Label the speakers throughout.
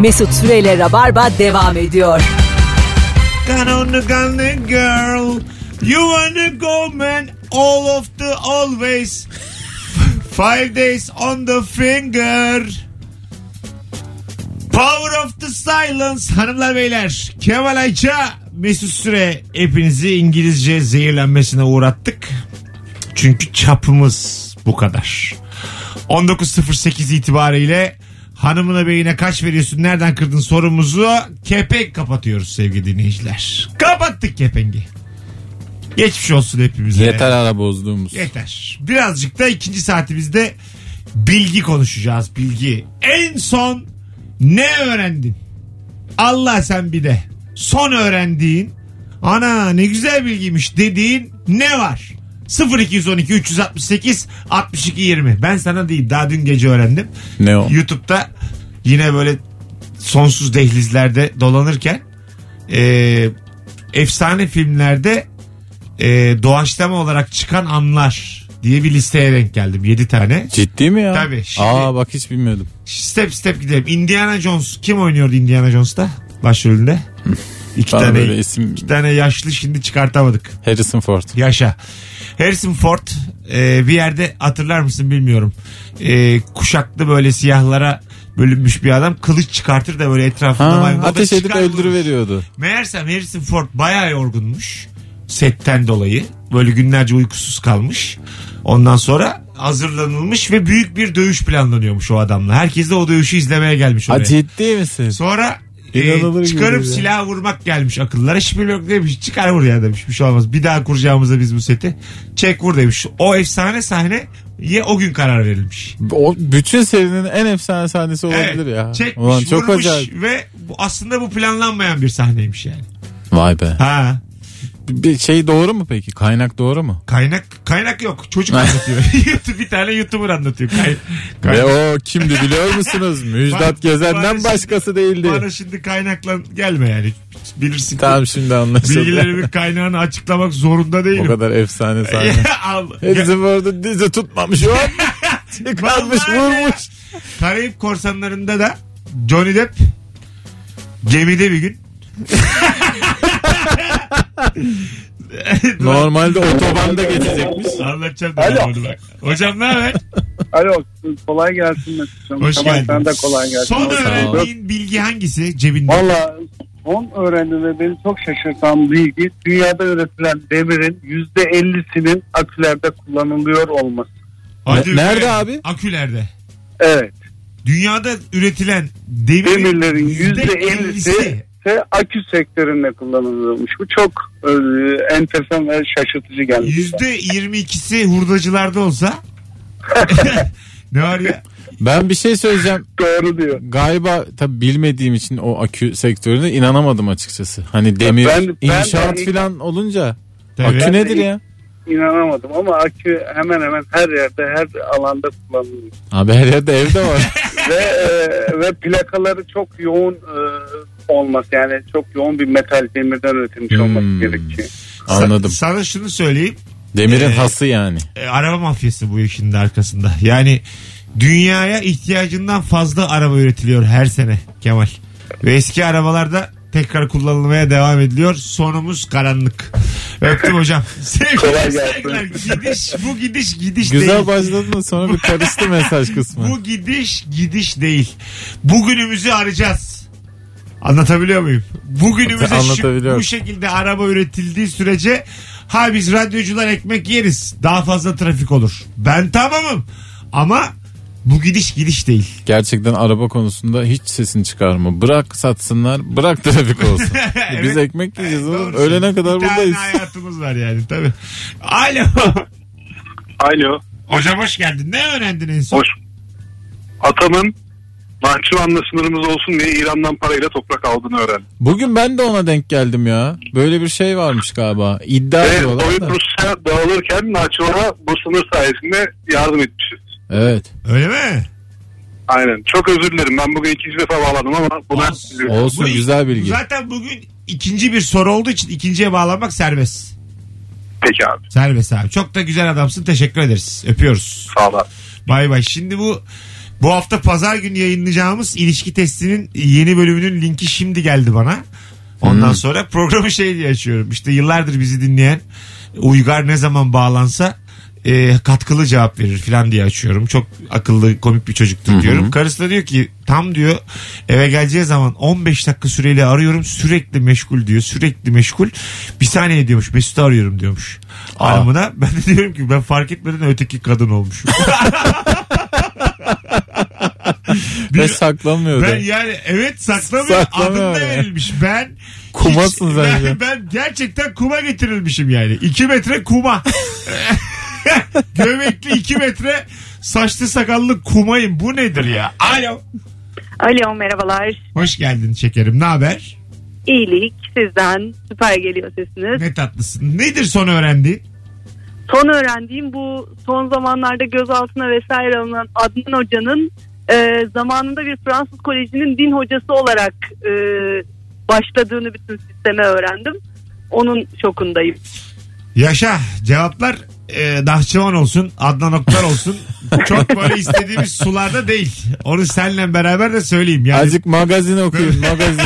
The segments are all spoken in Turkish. Speaker 1: Mesut Süreyle Rabarba devam ediyor.
Speaker 2: Gun on the gun the girl. You wanna go man all of the always. Five days on the finger. Power of the silence hanımlar beyler. Kemal Ayça Mesut Süre hepinizi İngilizce zehirlenmesine uğrattık. Çünkü çapımız bu kadar. 19.08 itibariyle hanımına beyine kaç veriyorsun nereden kırdın sorumuzu kepenk kapatıyoruz sevgili dinleyiciler. Kapattık kepengi. Geçmiş olsun hepimize.
Speaker 3: Yeter ara bozduğumuz.
Speaker 2: Yeter. Birazcık da ikinci saatimizde bilgi konuşacağız. Bilgi. En son ne öğrendin? Allah sen bir de. Son öğrendiğin. Ana ne güzel bilgiymiş dediğin ne var? 0212 368 62 20. Ben sana değil daha dün gece öğrendim.
Speaker 3: Ne o?
Speaker 2: YouTube'da yine böyle sonsuz dehlizlerde dolanırken e, efsane filmlerde e, doğaçlama olarak çıkan anlar diye bir listeye denk geldim. 7 tane.
Speaker 3: Ciddi mi ya?
Speaker 2: Tabii, şimdi-
Speaker 3: Aa bak hiç bilmiyordum.
Speaker 2: Step step gidelim. Indiana Jones. Kim oynuyordu Indiana Jones'ta? Başrolünde. İki
Speaker 3: Bana
Speaker 2: tane,
Speaker 3: böyle isim
Speaker 2: iki tane yaşlı şimdi çıkartamadık.
Speaker 3: Harrison Ford.
Speaker 2: Yaşa. Harrison Ford e, bir yerde hatırlar mısın bilmiyorum. E, kuşaklı böyle siyahlara bölünmüş bir adam kılıç çıkartır da böyle etrafında
Speaker 3: Ha,
Speaker 2: maymun- O da
Speaker 3: ateş edip
Speaker 2: çıkar vurur.
Speaker 3: öldürüveriyordu.
Speaker 2: Meğersem Harrison Ford bayağı yorgunmuş. Setten dolayı. Böyle günlerce uykusuz kalmış. Ondan sonra hazırlanılmış ve büyük bir dövüş planlanıyormuş o adamla. Herkes de o dövüşü izlemeye gelmiş oraya.
Speaker 3: Ha ciddi misin?
Speaker 2: Sonra e,
Speaker 3: İnanılır gibi
Speaker 2: çıkarıp
Speaker 3: değil ya.
Speaker 2: silah vurmak gelmiş akıllara. Şipilok demiş çıkar vur ya demiş bir şey olmaz. Bir daha kuracağımıza biz bu seti. Çek vur demiş. O efsane sahneye o gün karar verilmiş.
Speaker 3: O bütün serinin en efsane sahnesi olabilir ya.
Speaker 2: Çekmiş
Speaker 3: Ulan çok
Speaker 2: vurmuş
Speaker 3: acayip.
Speaker 2: ve bu, aslında bu planlanmayan bir sahneymiş yani.
Speaker 3: Vay be.
Speaker 2: Ha.
Speaker 3: Bir şey doğru mu peki? Kaynak doğru mu?
Speaker 2: Kaynak kaynak yok. Çocuk anlatıyor. YouTube bir tane YouTuber anlatıyor. Kay, kay-
Speaker 3: Ve o kimdi biliyor musunuz?
Speaker 2: Bana-
Speaker 3: Müjdat
Speaker 2: bana
Speaker 3: Gezen'den
Speaker 2: şimdi-
Speaker 3: başkası değildi.
Speaker 2: Bana şimdi kaynakla gelme yani. Bilirsin. ki
Speaker 3: Tamam şimdi anlaşıldı.
Speaker 2: Bilgilerimin kaynağını açıklamak zorunda
Speaker 3: O
Speaker 2: değilim.
Speaker 3: kadar efsane sahne.
Speaker 2: Al.
Speaker 3: Hepsi bu arada dizi tutmamış o an. Çıkarmış
Speaker 2: Vallahi
Speaker 3: vurmuş.
Speaker 2: Karayip korsanlarında da Johnny Depp gemide bir gün.
Speaker 3: Normalde otobanda geçecekmiş.
Speaker 2: Anlatacağım da ben bunu bak. Hocam ne haber?
Speaker 4: Alo kolay gelsin Mesut'cum.
Speaker 2: Hoş
Speaker 4: Kemal,
Speaker 2: geldin.
Speaker 4: Sen de kolay gelsin.
Speaker 2: Son öğrendiğin bilgi hangisi cebinde?
Speaker 4: Valla son öğrendim ve beni çok şaşırtan bilgi dünyada üretilen demirin yüzde ellisinin akülerde kullanılıyor olması.
Speaker 2: Hadi be.
Speaker 3: Nerede abi?
Speaker 2: Akülerde.
Speaker 4: Evet.
Speaker 2: Dünyada üretilen demir,
Speaker 4: Demirlerin yüzde ellisi akü sektöründe kullanılıyormuş. Bu çok e, enteresan ve şaşırtıcı geldi.
Speaker 2: Yüzde yirmi ikisi hurdacılarda olsa ne var ya?
Speaker 3: Ben bir şey söyleyeceğim.
Speaker 4: Doğru diyor.
Speaker 3: Galiba tabi bilmediğim için o akü sektörüne inanamadım açıkçası. Hani demir,
Speaker 4: Ben- ben de-
Speaker 3: inşaat filan olunca
Speaker 2: Tabii.
Speaker 3: akü
Speaker 4: Ben de-
Speaker 3: nedir ya?
Speaker 4: İnanamadım ama akü hemen hemen her yerde her alanda kullanılıyor.
Speaker 3: Abi her yerde evde var.
Speaker 4: ve e, ve plakaları çok yoğun e, olması yani çok yoğun bir metal demirden üretilmiş
Speaker 3: Hmm.
Speaker 4: olması gerekiyor.
Speaker 2: Sa-
Speaker 3: Anladım.
Speaker 2: Sana şunu söyleyeyim.
Speaker 3: Demirin
Speaker 2: Ee,
Speaker 3: hası yani.
Speaker 2: E, araba mafyası bu işin de arkasında. Yani dünyaya ihtiyacından fazla araba üretiliyor her sene Kemal. Ve eski arabalarda tekrar kullanılmaya devam ediliyor. Sonumuz karanlık. Öptüm hocam. Sevgiler,
Speaker 4: Kolay gelsin.
Speaker 2: saygılar. Gidiş, bu gidiş gidiş değil.
Speaker 3: Güzel başladın da sonra bir karıştı mesaj kısmı.
Speaker 2: Bu gidiş gidiş değil. Bugünümüzü arayacağız. Anlatabiliyor muyum? Bugünümüze şu,
Speaker 3: Anlatabiliyorum.
Speaker 2: bu şekilde araba üretildiği sürece ha biz radyocular ekmek yeriz. Daha fazla trafik olur. Ben tamamım. Ama bu gidiş gidiş değil.
Speaker 3: Gerçekten araba konusunda hiç sesini çıkarma. Bırak satsınlar, bırak trafik olsun.
Speaker 2: Evet.
Speaker 3: Biz ekmek yiyeceğiz oğlum.
Speaker 2: Doğrusu.
Speaker 3: Ölene kadar
Speaker 2: Bir tane
Speaker 3: buradayız.
Speaker 2: hayatımız var yani tabii. Alo.
Speaker 4: Alo.
Speaker 2: Hocam hoş geldin. Ne öğrendin en son?
Speaker 4: Hoş. Atamın Nahçıvan'la sınırımız olsun diye İran'dan parayla toprak aldığını öğrendim.
Speaker 3: Bugün ben de ona denk geldim ya. Böyle bir şey varmış galiba. İddia
Speaker 4: Ve
Speaker 3: ediyorlar
Speaker 4: oyun
Speaker 3: da.
Speaker 4: Rusya dağılırken Nahçıvan'a bu sınır sayesinde yardım etmişiz.
Speaker 3: Evet.
Speaker 2: Öyle mi?
Speaker 4: Aynen. Çok özür dilerim. Ben bugün ikinci defa bağladım ama buna...
Speaker 2: Olsun.
Speaker 3: Olsun
Speaker 2: Bu-
Speaker 3: güzel bilgi.
Speaker 2: Zaten bugün ikinci bir soru olduğu için ikinciye bağlanmak serbest.
Speaker 4: Peki abi.
Speaker 2: Serbest abi. Çok da güzel adamsın. Teşekkür ederiz. Öpüyoruz.
Speaker 4: Sağ ol abi.
Speaker 2: Bay bay. Şimdi bu Bu hafta pazar günü yayınlayacağımız ilişki testinin yeni bölümünün linki şimdi geldi bana. Ondan sonra programı şey diye açıyorum. İşte yıllardır bizi dinleyen Uygar ne zaman bağlansa e, katkılı cevap verir falan diye açıyorum. Çok akıllı komik bir çocuktur diyorum. Karısı da diyor ki tam diyor eve geleceği zaman 15 dakika süreyle arıyorum sürekli meşgul diyor sürekli meşgul. Bir saniye diyormuş Mesut'u arıyorum diyormuş. Hanımına ben de diyorum ki ben fark etmeden öteki kadın olmuşum.
Speaker 3: Ve saklamıyor da.
Speaker 2: Ben yani evet saklamıyor.
Speaker 3: Saklamıyor
Speaker 2: Adım da
Speaker 3: ya.
Speaker 2: verilmiş. Ben
Speaker 3: Kumasın
Speaker 2: hiç-
Speaker 3: sen
Speaker 2: ben,
Speaker 3: ya.
Speaker 2: ben gerçekten kuma getirilmişim yani. 2 metre kuma. Göbekli 2 metre saçlı sakallı kumayım. Bu nedir ya? Alo.
Speaker 5: Alo merhabalar.
Speaker 2: Hoş geldin şekerim. Ne haber?
Speaker 5: İyilik sizden süper geliyor sesiniz.
Speaker 2: Ne tatlısın. Nedir son öğrendiğin?
Speaker 5: Son öğrendiğim bu son zamanlarda gözaltına vesaire alınan Adnan Hoca'nın e, zamanında bir Fransız kolejinin din hocası olarak e, başladığını bütün sisteme öğrendim. Onun şokundayım.
Speaker 2: Yaşa. Cevaplar e, Nahçıvan olsun, Adnan Oktar olsun. Çok böyle istediğimiz sularda değil. Onu seninle beraber de söyleyeyim. Yani
Speaker 3: Azıcık magazin okuyun magazin.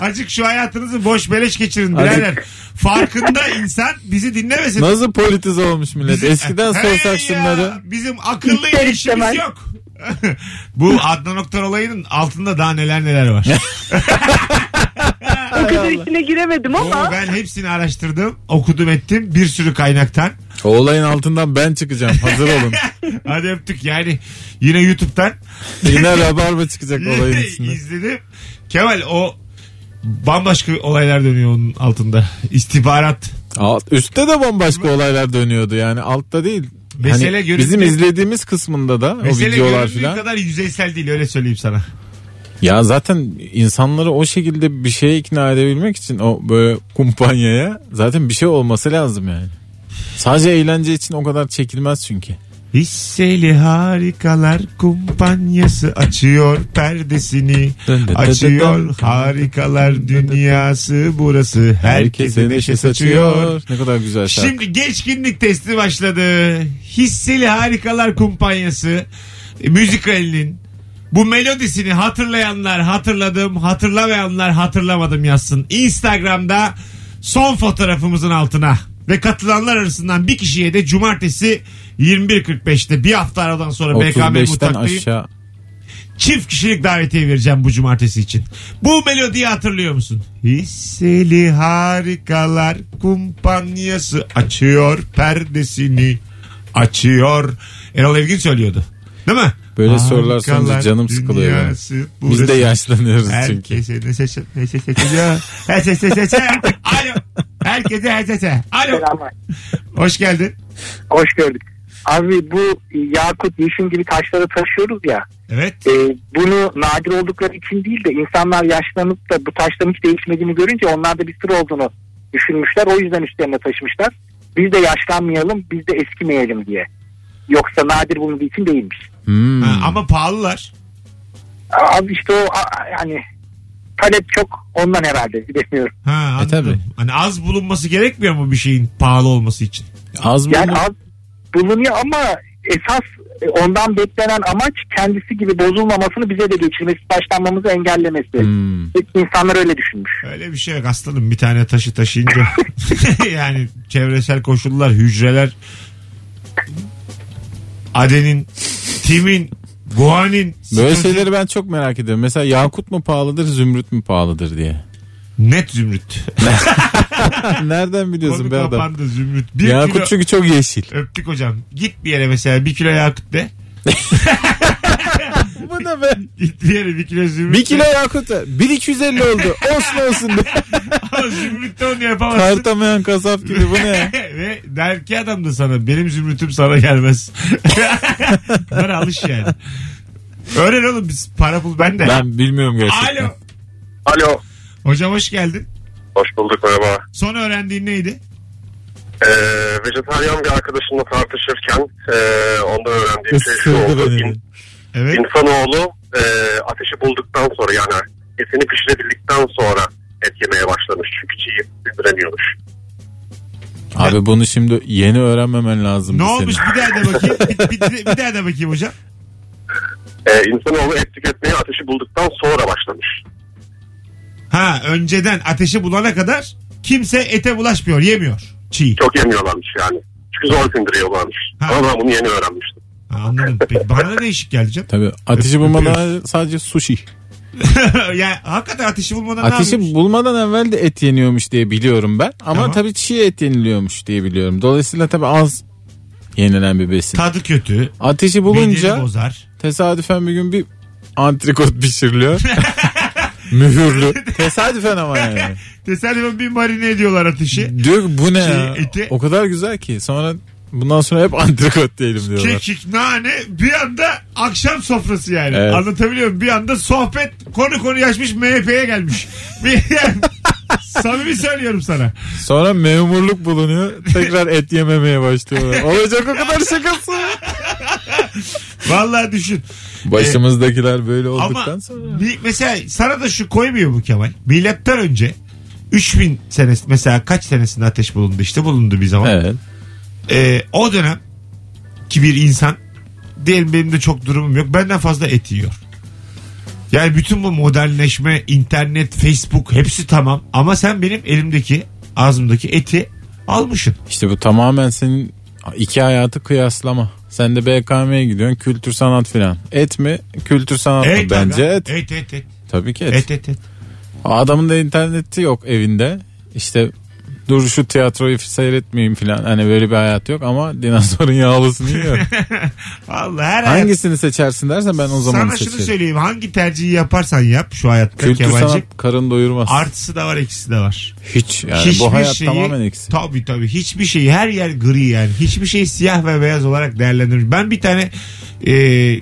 Speaker 2: Azıcık şu hayatınızı boş beleş geçirin
Speaker 3: Azıcık.
Speaker 2: birader. Farkında insan bizi dinlemesin.
Speaker 3: Nasıl politize olmuş millet. Eskiden
Speaker 2: Hey ya,
Speaker 3: sorsak şunları.
Speaker 2: Bizim akıllı
Speaker 5: İster
Speaker 2: ilişkimiz
Speaker 5: istemez.
Speaker 2: yok. Bu Adnan Oktar olayının altında daha neler neler var.
Speaker 5: O kadar içine giremedim ama
Speaker 2: Oo, ben hepsini araştırdım, okudum ettim bir sürü kaynaktan.
Speaker 3: O olayın altından ben çıkacağım. Hazır olun.
Speaker 2: Hadi öptük yani yine YouTube'dan
Speaker 3: Yine rabarba çıkacak olayın içinde.
Speaker 2: izledim. Kemal o bambaşka olaylar dönüyor onun altında. İstihbarat.
Speaker 3: Alt, üstte de bambaşka olaylar dönüyordu yani. Altta değil.
Speaker 2: Mesele
Speaker 3: Hani
Speaker 2: görüntü-
Speaker 3: bizim izlediğimiz kısmında da o
Speaker 2: Mesele
Speaker 3: videolar
Speaker 2: göründüğü
Speaker 3: filan.
Speaker 2: kadar yüzeysel değil öyle söyleyeyim sana.
Speaker 3: Ya zaten insanları o şekilde bir şeye ikna edebilmek için o böyle kumpanyaya zaten bir şey olması lazım yani. Sadece eğlence için o kadar çekilmez çünkü.
Speaker 2: Hisseli harikalar kumpanyası açıyor perdesini. Açıyor harikalar dünyası burası. Herkese neşe saçıyor.
Speaker 3: Ne kadar güzel şarkı.
Speaker 2: Şimdi geçkinlik testi başladı. Hisseli harikalar kumpanyası. e, Müzikalinin bu melodisini hatırlayanlar hatırladım, hatırlamayanlar hatırlamadım yazsın. Instagram'da son fotoğrafımızın altına ve katılanlar arasından bir kişiye de cumartesi 21.45'te bir hafta aradan sonra BKM
Speaker 3: 35'ten
Speaker 2: Mutfak'tayım
Speaker 3: aşağı.
Speaker 2: çift kişilik davetiye vereceğim bu cumartesi için. Bu melodiyi hatırlıyor musun? Hisseli harikalar kumpanyası açıyor perdesini açıyor. Erol Evgin söylüyordu. Değil mi?
Speaker 3: Böyle sorular sorunca canım sıkılıyor benim.
Speaker 2: dünyası burası.
Speaker 3: Biz de yaşlanıyoruz çünkü.
Speaker 2: Herkese ne seçe ne seçe seçe- Her seçe seçe. Alo. Herkese her seçe. Alo.
Speaker 6: Selamlar.
Speaker 2: Hoş geldin.
Speaker 6: Hoş gördük. Abi bu yakut, nişin gibi taşları taşıyoruz ya.
Speaker 2: Evet.
Speaker 6: e, bunu nadir oldukları için değil de insanlar yaşlanıp da bu taşların hiç değişmediğini görünce onlar da bir sır olduğunu düşünmüşler. O yüzden üstlerine taşımışlar. Biz de yaşlanmayalım, biz de eskimeyelim diye. Yoksa nadir bulunduğu için değilmiş.
Speaker 3: Hmm.
Speaker 2: Ha, ama pahalılar.
Speaker 6: Abi işte o a- a- yani talep çok ondan herhalde bilemiyorum.
Speaker 2: Ha,
Speaker 3: E,
Speaker 2: anladım.
Speaker 3: tabii.
Speaker 2: Hani az bulunması gerekmiyor mu bir şeyin pahalı olması için?
Speaker 3: Az
Speaker 6: Yani
Speaker 3: bulunur.
Speaker 6: az bulunuyor ama esas e, ondan beklenen amaç kendisi gibi bozulmamasını bize de geçirmesi, başlanmamızı engellemesi.
Speaker 3: Hmm.
Speaker 6: İnsanlar öyle düşünmüş.
Speaker 2: Öyle bir şey yok aslanım bir tane taşı taşıyınca yani çevresel koşullar hücreler adenin timin guanin
Speaker 3: Böyle
Speaker 2: sitosin-
Speaker 3: şeyleri ben çok merak ediyorum. Mesela yakut mu pahalıdır, zümrüt mü pahalıdır diye.
Speaker 2: net zümrüt
Speaker 3: Nereden biliyorsun
Speaker 2: konu
Speaker 3: be adam?
Speaker 2: kapandı zümrüt bir kilo
Speaker 3: Yakut çünkü çok yeşil.
Speaker 2: öptük hocam git bir yere mesela bir kilo yakut de
Speaker 3: Bu ne be?
Speaker 2: git bir yere bir kilo zümrüt
Speaker 3: Bir kilo
Speaker 2: de.
Speaker 3: yakut. 1250 oldu. Olsun olsun diye.
Speaker 2: Ama zümrüt de onu yapamazsın
Speaker 3: Tartamayan kasap gibi bu ne?
Speaker 2: Ve der ki adam da sana benim zümrütüm sana gelmez. Bana alış yani. Öğren oğlum biz para pul bende.
Speaker 3: Ben bilmiyorum gerçekten.
Speaker 2: Alo.
Speaker 7: Alo.
Speaker 2: Hocam hoş geldin.
Speaker 7: Hoş bulduk merhaba.
Speaker 2: Son öğrendiğin neydi?
Speaker 7: Ee, vejetaryen bir arkadaşımla tartışırken ee, ondan öğrendiğim şey şu
Speaker 3: Isırdı
Speaker 7: oldu.
Speaker 3: beni.
Speaker 7: İn,
Speaker 2: Evet.
Speaker 7: insanoğlu ee, ateşi bulduktan sonra yani etini pişirebildikten sonra et yemeye başlamış. Çünkü çiğ sindiremiyormuş.
Speaker 3: Abi bunu şimdi yeni öğrenmemen lazım.
Speaker 2: Ne olmuş bir daha da bakayım. Bir, bir- bir daha da bakayım hocam.
Speaker 7: Ee, insanoğlu et tüketmeye ateşi bulduktan sonra başlamış.
Speaker 2: Ha önceden ateşi bulana kadar kimse ete bulaşmıyor yemiyor. Çiğ.
Speaker 7: Çok yemiyorlarmış yani. Çünkü zor sindiriyorlarmış.
Speaker 2: Ha.
Speaker 7: Ama ben bunu yeni öğrenmiştim.
Speaker 2: Ha, anladım. Peki, bana da değişik geldi canım.
Speaker 3: Tabii ateşi bulmadan sadece sushi.
Speaker 2: ya hakikaten ateşi bulmadan ne
Speaker 3: Ateşi
Speaker 2: yapıyormuş?
Speaker 3: bulmadan evvel de et yeniyormuş diye biliyorum ben. Ama
Speaker 2: Tamam.
Speaker 3: tabii çiğ et yeniliyormuş diye biliyorum. Dolayısıyla tabii az yenilen bir besin.
Speaker 2: Tadı kötü.
Speaker 3: Ateşi
Speaker 2: Bulunca
Speaker 3: bulunca
Speaker 2: bozar.
Speaker 3: tesadüfen bir gün bir antrikot pişiriliyor. Mühürlü. Tesadüfen ama yani.
Speaker 2: Tesadüfen bir marine ediyorlar ateşi.
Speaker 3: Diyor ki bu ne
Speaker 2: Şey,
Speaker 3: ya?
Speaker 2: eti-
Speaker 3: O kadar güzel ki. Sonra bundan sonra hep antrikot diyelim diyorlar.
Speaker 2: Kekik, nane bir anda akşam sofrası yani.
Speaker 3: Evet.
Speaker 2: Anlatabiliyor muyum? Bir anda sohbet konu konu yaşmış MHP'ye gelmiş. Bir, samimi söylüyorum sana.
Speaker 3: Sonra memurluk bulunuyor. Tekrar et yememeye başlıyorlar. Olacak o kadar şey. şakası.
Speaker 2: Vallahi düşün.
Speaker 3: Başımızdakiler böyle
Speaker 2: Ama
Speaker 3: olduktan sonra.
Speaker 2: bir- mesela sana da şu koymuyor mu Kemal? Milattan önce 3000 senesi mesela kaç senesinde ateş bulundu işte bulundu bir zaman.
Speaker 3: Evet.
Speaker 2: Ee, o dönem ki bir insan diyelim benim de çok durumum yok benden fazla et yiyor. Yani bütün bu modernleşme, internet, Facebook hepsi tamam ama sen benim elimdeki ağzımdaki eti almışsın.
Speaker 3: İşte bu tamamen senin iki hayatı kıyaslama. Sen de BKM'ye gidiyorsun kültür sanat filan. Et mi? Kültür sanat mı?
Speaker 2: Evet,
Speaker 3: Bence
Speaker 2: aga.
Speaker 3: et.
Speaker 2: Et et et.
Speaker 3: Tabii ki et.
Speaker 2: Et et et.
Speaker 3: Adamın da interneti yok evinde. İşte dur şu tiyatroyu seyretmeyeyim filan. Hani böyle bir hayat yok ama dinozorun yağlısını yiyor.
Speaker 2: Vallahi her hayat-
Speaker 3: Hangisini seçersin dersen ben o zamanı
Speaker 2: Sana
Speaker 3: seçerim.
Speaker 2: şunu söyleyeyim hangi tercihi yaparsan yap şu hayatta
Speaker 3: Kültür
Speaker 2: Kemal'cim.
Speaker 3: sanat karın doyurmaz.
Speaker 2: Artısı da var eksisi de var.
Speaker 3: Hiç yani
Speaker 2: Hiçbir
Speaker 3: bu hayat
Speaker 2: şeyi-
Speaker 3: tamamen eksi.
Speaker 2: Tabii tabii hiçbir şey her yer gri yani. Hiçbir şey siyah ve beyaz olarak değerlendirilmiş. Ben bir tane e,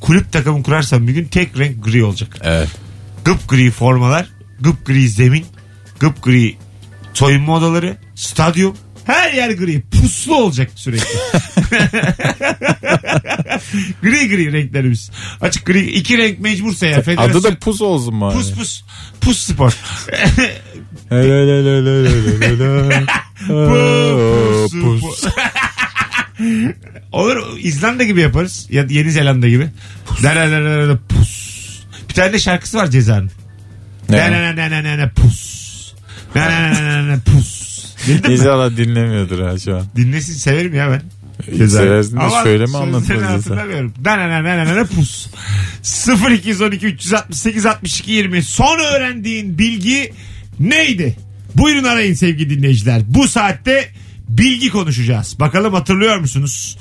Speaker 2: kulüp takımı kurarsam bir gün tek renk gri olacak.
Speaker 3: Evet.
Speaker 2: Gıp gri formalar, gıp gri zemin, gıp gri soyunma odaları, stadyum. Her yer gri. Puslu olacak sürekli. gri gri renklerimiz. Açık gri. iki renk mecbursa ya.
Speaker 3: Adı
Speaker 2: Federasyon.
Speaker 3: da pus olsun bari.
Speaker 2: Pus pus. Pus spor.
Speaker 3: Hele hele hele hele hele hele. Aa,
Speaker 2: Pus, pus,
Speaker 3: Pus.
Speaker 2: pus. Olur İzlanda gibi yaparız. Ya da Yeni Zelanda gibi. Da, da, da, da, da, pus. Bir tane de şarkısı var Ceza'nın. Ne ne ne
Speaker 3: Ne?
Speaker 2: ne ne ne ne pus. Ne ne ne ne ne ne pus. Bildin mi?
Speaker 3: İnşallah dinlemiyordur ha şu an.
Speaker 2: Dinlesin severim ya ben.
Speaker 3: Seversin de şöyle mi
Speaker 2: sözlerini
Speaker 3: anlatıyoruz Ceza?
Speaker 2: hatırlamıyorum. Da, da, da, da, da, da, pus. 0212 368 62 20 son öğrendiğin bilgi neydi? Buyurun arayın sevgili dinleyiciler. Bu saatte bilgi konuşacağız. Bakalım hatırlıyor musunuz?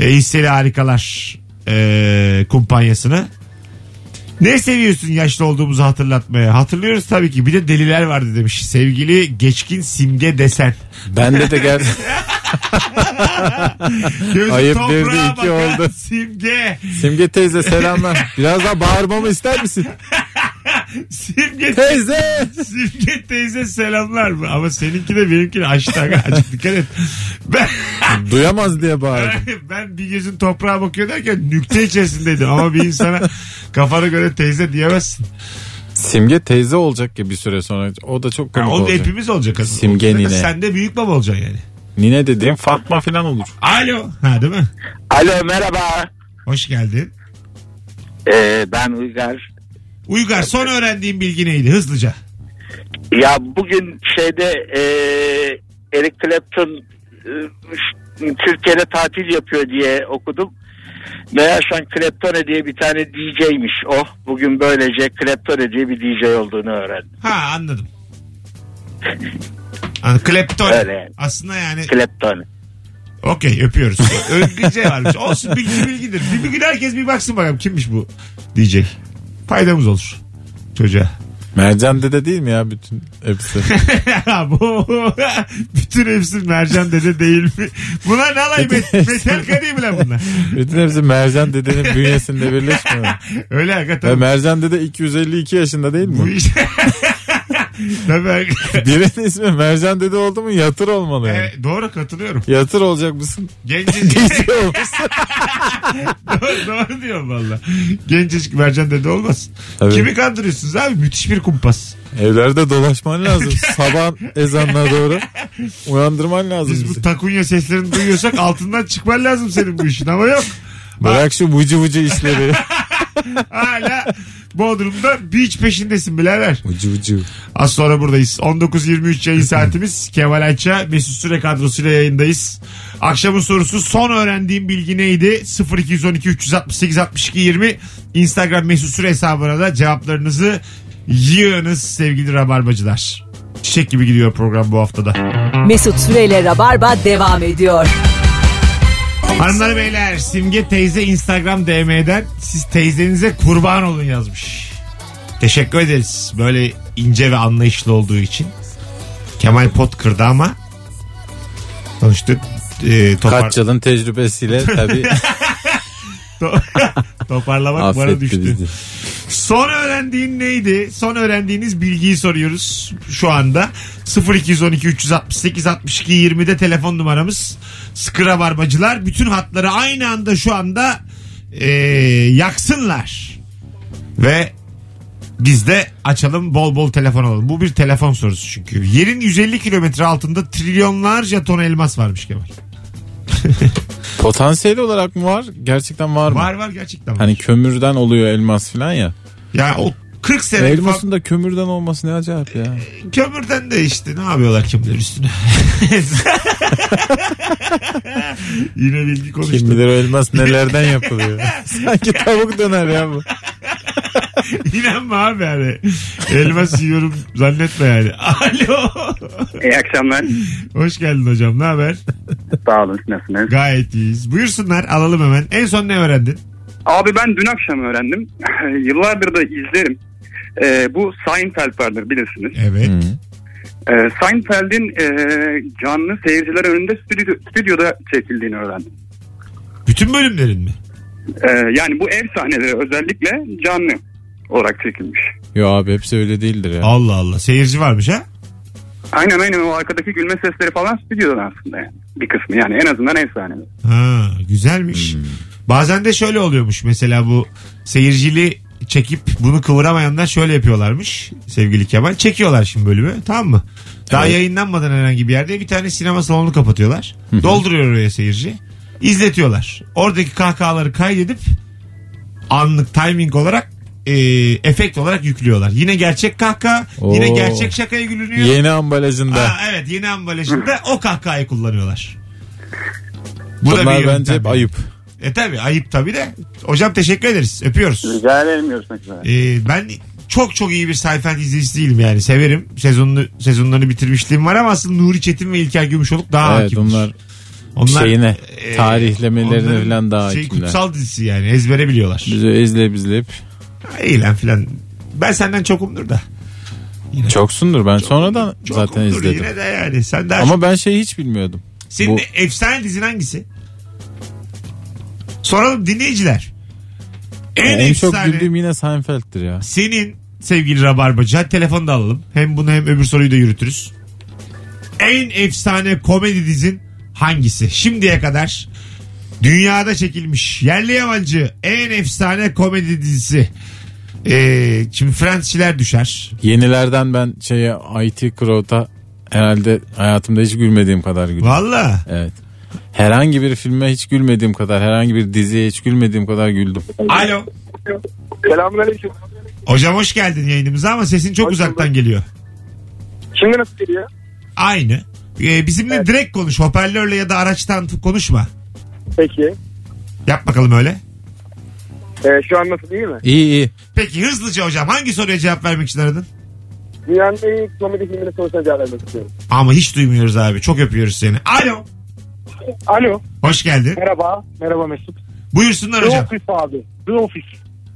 Speaker 2: E, hisseli harikalar e, kumpanyasını. Ne seviyorsun yaşlı olduğumuzu hatırlatmaya? Hatırlıyoruz tabii ki. Bir de deliler vardı demiş. Sevgili geçkin simge desen.
Speaker 3: Bende de gel.
Speaker 2: Gözü
Speaker 3: Ayıp
Speaker 2: toprağa
Speaker 3: bir de iki
Speaker 2: bakan
Speaker 3: oldu.
Speaker 2: Simge.
Speaker 3: Simge teyze selamlar. Biraz daha bağırmamı ister misin?
Speaker 2: Simge,
Speaker 3: Teyze.
Speaker 2: simge teyze selamlar mı? Ama seninki de benimki de açtı. aga. Azıcık dikkat et. Ben,
Speaker 3: Duyamaz diye bağırdım.
Speaker 2: ben bir gözün toprağa bakıyor derken nükte içerisindeydim. Ama bir insana kafana göre teyze diyemezsin.
Speaker 3: Simge teyze olacak ya bir süre sonra. O da çok
Speaker 2: Ha,
Speaker 3: komik
Speaker 2: o da
Speaker 3: olacak.
Speaker 2: hepimiz olacak. aslında.
Speaker 3: Simge
Speaker 2: Zaten
Speaker 3: nine.
Speaker 2: Sen de büyük baba olacaksın yani.
Speaker 3: Nine dediğim Fatma falan olur.
Speaker 2: Alo. Ha değil mi?
Speaker 6: Alo merhaba.
Speaker 2: Hoş geldin.
Speaker 6: Ee, ben Uygar.
Speaker 2: Uygar son öğrendiğin bilgi neydi? Hızlıca.
Speaker 6: Ya bugün şeyde e, Eric Clapton e, ş- Türkiye'de tatil yapıyor diye okudum. Meğer şu an Claptone diye bir tane DJ'miş o. Bugün böylece Claptone diye bir DJ olduğunu öğrendim.
Speaker 2: Ha anladım. Ha, Klepton.
Speaker 6: Öyle yani.
Speaker 2: Aslında yani
Speaker 6: Claptone.
Speaker 2: Okey öpüyoruz. Övgüce varmış. Olsun bilgi bilgidir. Bir, bir gün herkes bir baksın bakalım kimmiş bu DJ. Faydamız olur çocuğa.
Speaker 3: Mercan dede değil mi ya bütün hepsi?
Speaker 2: bu bütün hepsi Mercan dede değil mi? Buna ne alay met metalka değil mi lan bunlar?
Speaker 3: bütün hepsi Mercan dedenin bünyesinde birleşmiyor.
Speaker 2: Öyle
Speaker 3: Ve
Speaker 2: hakikaten.
Speaker 3: Mercan dede 252 yaşında değil
Speaker 2: Bu
Speaker 3: mi?
Speaker 2: iş. Tabii. hakikaten.
Speaker 3: Birinin ismi Mercan dede oldu mu yatır olmalı yani.
Speaker 2: Evet, E, doğru katılıyorum.
Speaker 3: Yatır olacak mısın?
Speaker 2: Genciz.
Speaker 3: DJ olmuşsun.
Speaker 2: doğru, doğru diyorum valla. Genciz Mercan dede olmaz.
Speaker 3: Tabii.
Speaker 2: Kimi kandırıyorsunuz abi? Müthiş bir kumpas.
Speaker 3: Evlerde dolaşman lazım. Sabah ezanına doğru uyandırman lazım
Speaker 2: Biz bu
Speaker 3: bizi.
Speaker 2: takunya seslerini duyuyorsak altından çıkman lazım senin bu işin ama yok.
Speaker 3: Bırak şu vıcı vıcı işleri.
Speaker 2: Hala Bodrum'da beach peşindesin birader.
Speaker 3: Ucu ucu.
Speaker 2: Az sonra buradayız. 19.23 yayın saatimiz. Kemal Ayça Mesut Süre kadrosuyla yayındayız. Akşamın sorusu son öğrendiğim bilgi neydi? 0212 368 62 20 Instagram Mesut Süre hesabına da cevaplarınızı yığınız sevgili rabarbacılar. Çiçek gibi gidiyor program bu haftada.
Speaker 1: Mesut Süreyle Rabarba devam ediyor.
Speaker 2: Hanımlar beyler Simge teyze Instagram DM'den siz teyzenize kurban olun yazmış. Teşekkür ederiz böyle ince ve anlayışlı olduğu için. Kemal pot kırdı ama sonuçta e, topar,
Speaker 3: Kaç yılın tecrübesiyle tabii
Speaker 2: to- toparlamak bana
Speaker 3: affetti
Speaker 2: düştü.
Speaker 3: bizi.
Speaker 2: Son öğrendiğin neydi? Son öğrendiğiniz bilgiyi soruyoruz şu anda. 0212 368 62 20'de telefon numaramız. Sıkıra barbacılar. Bütün hatları aynı anda şu anda eee, yaksınlar. Ve biz de açalım bol bol telefon alalım. Bu bir telefon sorusu çünkü. Yerin 150 kilometre altında trilyonlarca ton elmas varmış Kemal.
Speaker 3: Potansiyel olarak mı var? Gerçekten var mı?
Speaker 2: Var var gerçekten. Var.
Speaker 3: Hani kömürden oluyor elmas falan ya.
Speaker 2: Ya o 40 sene
Speaker 3: Elmasın da kömürden olması ne acayip ya.
Speaker 2: Kömürden de işte ne yapıyorlar kim bilir üstüne. Yine bilgi konuştu.
Speaker 3: Kim bilir o elmas nelerden yapılıyor. Sanki tavuk döner ya bu.
Speaker 2: İnanma abi yani. Elmas yiyorum zannetme yani. Alo.
Speaker 8: İyi akşamlar.
Speaker 2: Hoş geldin hocam ne haber?
Speaker 8: Sağ olun nasılsınız?
Speaker 2: Gayet iyiyiz. Buyursunlar alalım hemen. En son ne öğrendin?
Speaker 8: Abi ben dün akşam öğrendim. Yıllardır da izlerim. Ee, bu Seinfeld vardır bilirsiniz.
Speaker 2: Evet.
Speaker 8: Ee, Seinfeld'in e, canlı seyirciler önünde stüdyo, stüdyoda çekildiğini öğrendim.
Speaker 2: Bütün bölümlerin mi?
Speaker 8: Ee, yani bu ev sahneleri özellikle canlı olarak çekilmiş.
Speaker 3: Yo abi hepsi öyle değildir ya.
Speaker 2: Allah Allah. Seyirci varmış ha?
Speaker 8: Aynen aynen o arkadaki gülme sesleri falan stüdyodan aslında yani. Bir kısmı yani en azından ev sahneleri.
Speaker 2: Ha, güzelmiş.
Speaker 3: Hmm.
Speaker 2: Bazen de şöyle oluyormuş. Mesela bu seyircili çekip bunu kıvıramayanlar şöyle yapıyorlarmış sevgili Kemal. Çekiyorlar şimdi bölümü tamam mı? Daha
Speaker 3: Evet.
Speaker 2: yayınlanmadan herhangi bir yerde bir tane sinema salonunu kapatıyorlar. Dolduruyor oraya seyirci. İzletiyorlar. Oradaki kahkahaları kaydedip anlık timing olarak e, efekt olarak yüklüyorlar. Yine gerçek kahkaha, yine
Speaker 3: Oo.
Speaker 2: gerçek şakaya gülünüyor.
Speaker 3: Yeni ambalajında.
Speaker 2: Aa, evet yeni ambalajında o kahkahayı kullanıyorlar. Bu da bir
Speaker 3: Bunlar bence
Speaker 2: yöntem.
Speaker 3: hep ayıp.
Speaker 2: E tabi ayıp tabi de. Hocam teşekkür ederiz. Öpüyoruz.
Speaker 8: Rica ederim görüşmek üzere.
Speaker 2: Ee, ben çok çok iyi bir sayfa izleyicisi değilim yani. Severim. Sezonunu, sezonlarını bitirmişliğim var ama aslında Nuri Çetin ve İlker Gümüşoluk daha
Speaker 3: evet
Speaker 2: hakimdir.
Speaker 3: onlar
Speaker 2: Onlar,
Speaker 3: şeyine,
Speaker 2: e,
Speaker 3: tarihlemelerine
Speaker 2: onların
Speaker 3: falan daha
Speaker 2: şey,
Speaker 3: hakimler.
Speaker 2: Kutsal dizisi yani ezbere biliyorlar.
Speaker 3: Bizi izleyip izleyip.
Speaker 2: Eğlen filan. Ben senden çokumdur da.
Speaker 3: Çoksundur ben sonradan zaten
Speaker 2: Çokumdur
Speaker 3: izledim.
Speaker 2: Yine de yani. Sen daha
Speaker 3: Ama ben şeyi hiç bilmiyordum.
Speaker 2: Senin
Speaker 3: Bu-
Speaker 2: efsane dizin hangisi? Soralım dinleyiciler. En,
Speaker 3: en çok
Speaker 2: efsane
Speaker 3: güldüğüm yine Seinfeld'tir ya.
Speaker 2: senin sevgili Rabarbacı. Hadi telefonu da alalım. Hem bunu hem öbür soruyu da yürütürüz. En efsane komedi dizin hangisi? Şimdiye kadar dünyada çekilmiş yerli yabancı en efsane komedi dizisi. Ee, şimdi Fransızlar düşer.
Speaker 3: Yenilerden ben şeye IT Crowd'a herhalde hayatımda hiç gülmediğim kadar güldüm.
Speaker 2: Valla.
Speaker 3: Evet. Herhangi bir filme hiç gülmediğim kadar, herhangi bir diziye hiç gülmediğim kadar güldüm.
Speaker 2: Alo.
Speaker 4: Selamünaleyküm.
Speaker 2: Hocam hoş geldin yayınımıza ama sesin çok
Speaker 4: Hoş
Speaker 2: uzaktan
Speaker 4: bulduk.
Speaker 2: geliyor.
Speaker 4: Şimdi nasıl geliyor?
Speaker 2: Aynı. Ee, bizimle direkt konuş. Hoparlörle ya da araçtan t- konuşma.
Speaker 4: Peki.
Speaker 2: Yap bakalım öyle.
Speaker 4: Ee, şu an nasıl değil mi?
Speaker 3: İyi iyi.
Speaker 2: Peki hızlıca hocam hangi soruya cevap vermek için aradın?
Speaker 4: Dünyanın en iyi komedi filminin sorusuna cevap vermek istiyorum.
Speaker 2: Ama hiç duymuyoruz abi. Çok öpüyoruz seni. Alo.
Speaker 4: Alo.
Speaker 2: Hoş geldin.
Speaker 4: Merhaba. Merhaba Mesut.
Speaker 2: Buyursunlar
Speaker 4: The
Speaker 2: hocam.
Speaker 4: Office abi. The Office.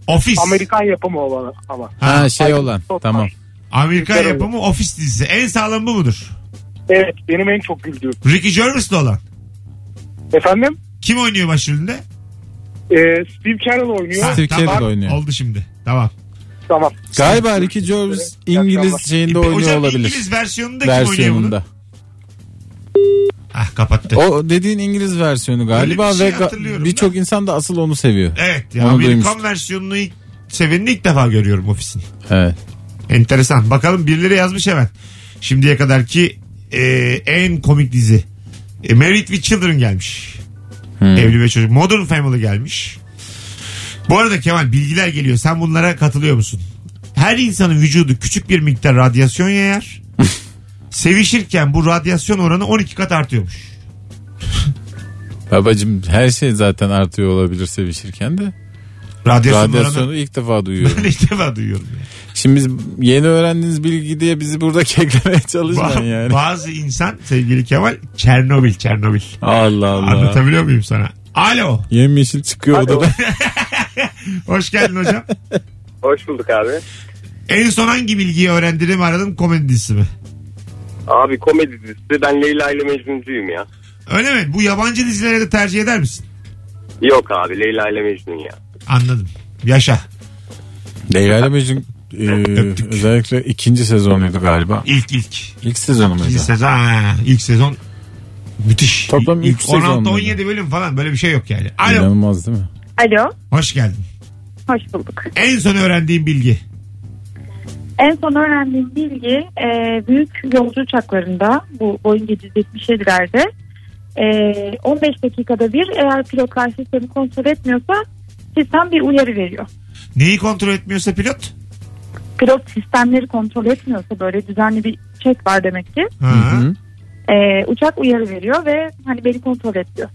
Speaker 2: Ofis.
Speaker 4: Amerikan yapımı olan ama.
Speaker 3: Ha, şey olan.
Speaker 4: çok
Speaker 3: Tamam.
Speaker 4: var.
Speaker 2: Amerikan yapımı ofis dizisi. En sağlam bu mudur?
Speaker 4: Evet benim en çok güldüğüm.
Speaker 2: Ricky Gervais'le olan.
Speaker 4: Efendim?
Speaker 2: Kim oynuyor başrolünde?
Speaker 4: Ee, Steve Carell oynuyor.
Speaker 3: Steve Carell oynuyor.
Speaker 2: Oldu şimdi. Tamam.
Speaker 4: Tamam.
Speaker 3: Galiba Ricky Gervais İngiliz şeyinde
Speaker 2: E,
Speaker 3: oynuyor
Speaker 2: hocam
Speaker 3: olabilir.
Speaker 2: İngiliz versiyonunda kim oynuyor bunu?
Speaker 3: Versiyonunda.
Speaker 2: Ah kapattı.
Speaker 3: O dediğin İngiliz versiyonu galiba
Speaker 2: Öyle bir şey
Speaker 3: ve ga-
Speaker 2: hatırlıyorum
Speaker 3: birçok insan da asıl onu seviyor.
Speaker 2: Evet. Ya,
Speaker 3: Onu
Speaker 2: Amerikan
Speaker 3: duymuştum.
Speaker 2: versiyonunu ilk, sevenini ilk defa görüyorum ofisin.
Speaker 3: Evet.
Speaker 2: Enteresan. Bakalım birileri yazmış hemen. Şimdiye kadarki e, en komik dizi. E, Married with Children gelmiş.
Speaker 3: Hmm.
Speaker 2: Evli ve Çocuk. Modern Family gelmiş. Bu arada Kemal bilgiler geliyor. Sen bunlara katılıyor musun? Her insanın vücudu küçük bir miktar radyasyon yayar. Sevişirken bu radyasyon oranı 12 kat artıyormuş.
Speaker 3: Babacım her şey zaten artıyor olabilir sevişirken de.
Speaker 2: Radyasyon, oranı.
Speaker 3: Radyasyonu ilk defa duyuyorum.
Speaker 2: Ben ilk defa duyuyorum. ya.
Speaker 3: Şimdi biz yeni öğrendiğiniz bilgi diye bizi burada keklemeye çalışmayın
Speaker 2: Ba-
Speaker 3: yani.
Speaker 2: Bazı insan sevgili Kemal Çernobil Çernobil.
Speaker 3: Allah Allah.
Speaker 2: Anlatabiliyor muyum sana? Alo.
Speaker 3: Yemyeşil çıkıyor odadan.
Speaker 2: Hoş geldin hocam.
Speaker 9: Hoş bulduk abi.
Speaker 2: en son hangi bilgiyi öğrendirim aradım komedi dizisi mi?
Speaker 9: Abi komedi dizisi ben Leyla ile Mecnuncuyum ya.
Speaker 2: Öyle mi? Bu yabancı dizileri de tercih eder misin?
Speaker 9: Yok abi Leyla ile Mecnun ya.
Speaker 2: Anladım. Yaşa.
Speaker 3: Leyla ile Mecnun e,
Speaker 2: Öptük.
Speaker 3: özellikle ikinci sezonuydu galiba.
Speaker 2: İlk ilk.
Speaker 3: İlk sezonu muydu?
Speaker 2: İkinci sezon. Ha, ilk sezon müthiş.
Speaker 3: Toplam üç sezon
Speaker 2: 16-17 bölüm falan böyle bir şey yok yani. Alo.
Speaker 3: İnanılmaz değil mi?
Speaker 5: Alo.
Speaker 2: Hoş geldin.
Speaker 5: Hoş bulduk.
Speaker 2: En son öğrendiğim bilgi.
Speaker 5: En son öğrendiğim bilgi e, büyük yolcu uçaklarında bu Boeing 777'lerde e, 15 dakikada bir eğer pilotlar sistemi kontrol etmiyorsa sistem bir uyarı veriyor.
Speaker 2: Neyi kontrol etmiyorsa pilot?
Speaker 5: Pilot sistemleri kontrol etmiyorsa böyle düzenli bir çek var demek ki
Speaker 2: Ha.
Speaker 3: Hı.
Speaker 5: e, uçak uyarı veriyor ve hani beni kontrol et diyor.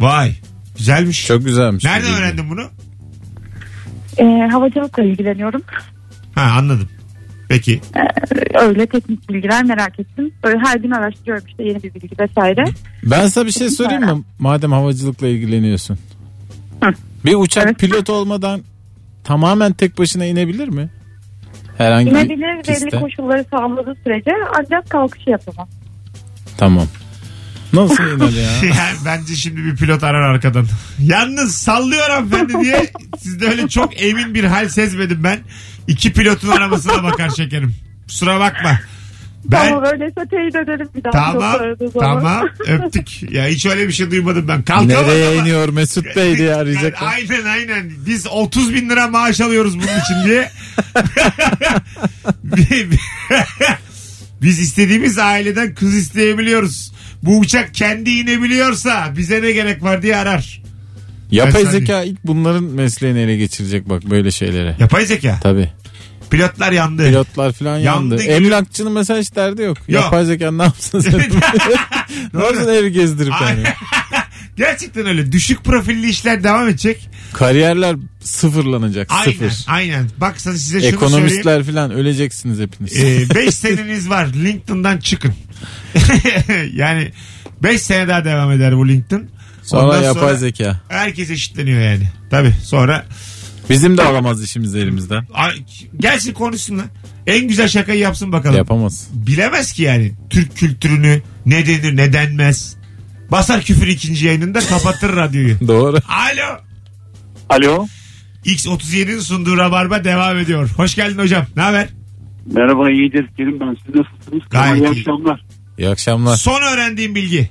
Speaker 2: Vay. Güzelmiş.
Speaker 3: Çok güzelmiş.
Speaker 2: Nereden
Speaker 3: Bu bilgi.
Speaker 2: öğrendin bunu?
Speaker 5: E, havacılıkla ilgileniyorum.
Speaker 2: Ha anladım. Peki.
Speaker 5: Öyle teknik bilgiler merak ettim. Böyle her gün araştırıyorum işte yeni bir bilgi vesaire.
Speaker 3: Ben sana bir şey sorayım mı? Madem havacılıkla ilgileniyorsun.
Speaker 5: Hı.
Speaker 3: Bir uçak
Speaker 5: Evet.
Speaker 3: pilot olmadan tamamen tek başına inebilir mi? Herhangi bir
Speaker 5: İnebilir belli
Speaker 3: piste.
Speaker 5: koşulları sağladığı sürece ancak kalkışı yapamam.
Speaker 3: Tamam. Nasıl iner ya?
Speaker 2: Yani bence şimdi bir pilot arar arkadan. Yalnız sallıyor hanımefendi diye sizde öyle çok emin bir hal sezmedim ben. İki pilotun arabasına bakar şekerim. Kusura bakma. Ben
Speaker 5: Tamam öyleyse teyit edelim bir daha.
Speaker 2: tamam
Speaker 5: doktor aradığı zaman.
Speaker 2: tamam öptük. Ya hiç öyle bir şey duymadım ben. Kalkamadım.
Speaker 3: Nereye
Speaker 2: ama-
Speaker 3: iniyor Mesut Bey diye
Speaker 2: Yani
Speaker 3: arayacaklar.
Speaker 2: aynen aynen. Biz 30 bin lira maaş alıyoruz bunun için diye. Biz istediğimiz aileden kız isteyebiliyoruz. Bu uçak kendi inebiliyorsa bize ne gerek var diye arar.
Speaker 3: Yapay
Speaker 2: Ben sen-
Speaker 3: zeka ilk bunların mesleğini ele geçirecek bak böyle şeylere.
Speaker 2: Yapay zeka.
Speaker 3: Tabii.
Speaker 2: Pilotlar yandı.
Speaker 3: Pilotlar falan yandı.
Speaker 2: Yandı gibi.
Speaker 3: Emlakçının mesela hiç derdi yok. Yapay zeka ne yapsın sen? ne yapsın evi gezdirip
Speaker 2: Ay.
Speaker 3: yani.
Speaker 2: Gerçekten öyle. Düşük profilli işler devam edecek.
Speaker 3: Kariyerler sıfırlanacak.
Speaker 2: Aynen.
Speaker 3: Sıfır.
Speaker 2: Aynen. Baksanız size şunu söyleyeyim. Ee,
Speaker 3: Ekonomistler falan öleceksiniz hepiniz.
Speaker 2: 5 seneniz var. LinkedIn'dan çıkın. yani 5 sene daha devam eder bu LinkedIn.
Speaker 3: sonra
Speaker 2: Ondan
Speaker 3: yapay zeka.
Speaker 2: Herkes eşitleniyor yani. Tabii sonra.
Speaker 3: Bizim de alamaz işimiz elimizden.
Speaker 2: Ay, Gelsin konuşsunlar. En güzel şakayı yapsın bakalım.
Speaker 3: Yapamaz.
Speaker 2: Bilemez ki yani. Türk kültürünü ne denir ne denmez. Basar küfür ikinci yayınında kapatır radyoyu.
Speaker 3: Doğru.
Speaker 2: Alo.
Speaker 4: Alo.
Speaker 2: X37'nin sunduğu Rabarba devam ediyor. Hoş geldin hocam. Ne haber?
Speaker 4: Merhaba iyidir Kerim ben siz nasılsınız?
Speaker 2: Gayet
Speaker 4: iyi
Speaker 2: iyi.
Speaker 4: akşamlar.
Speaker 3: İyi akşamlar.
Speaker 2: Son öğrendiğim bilgi.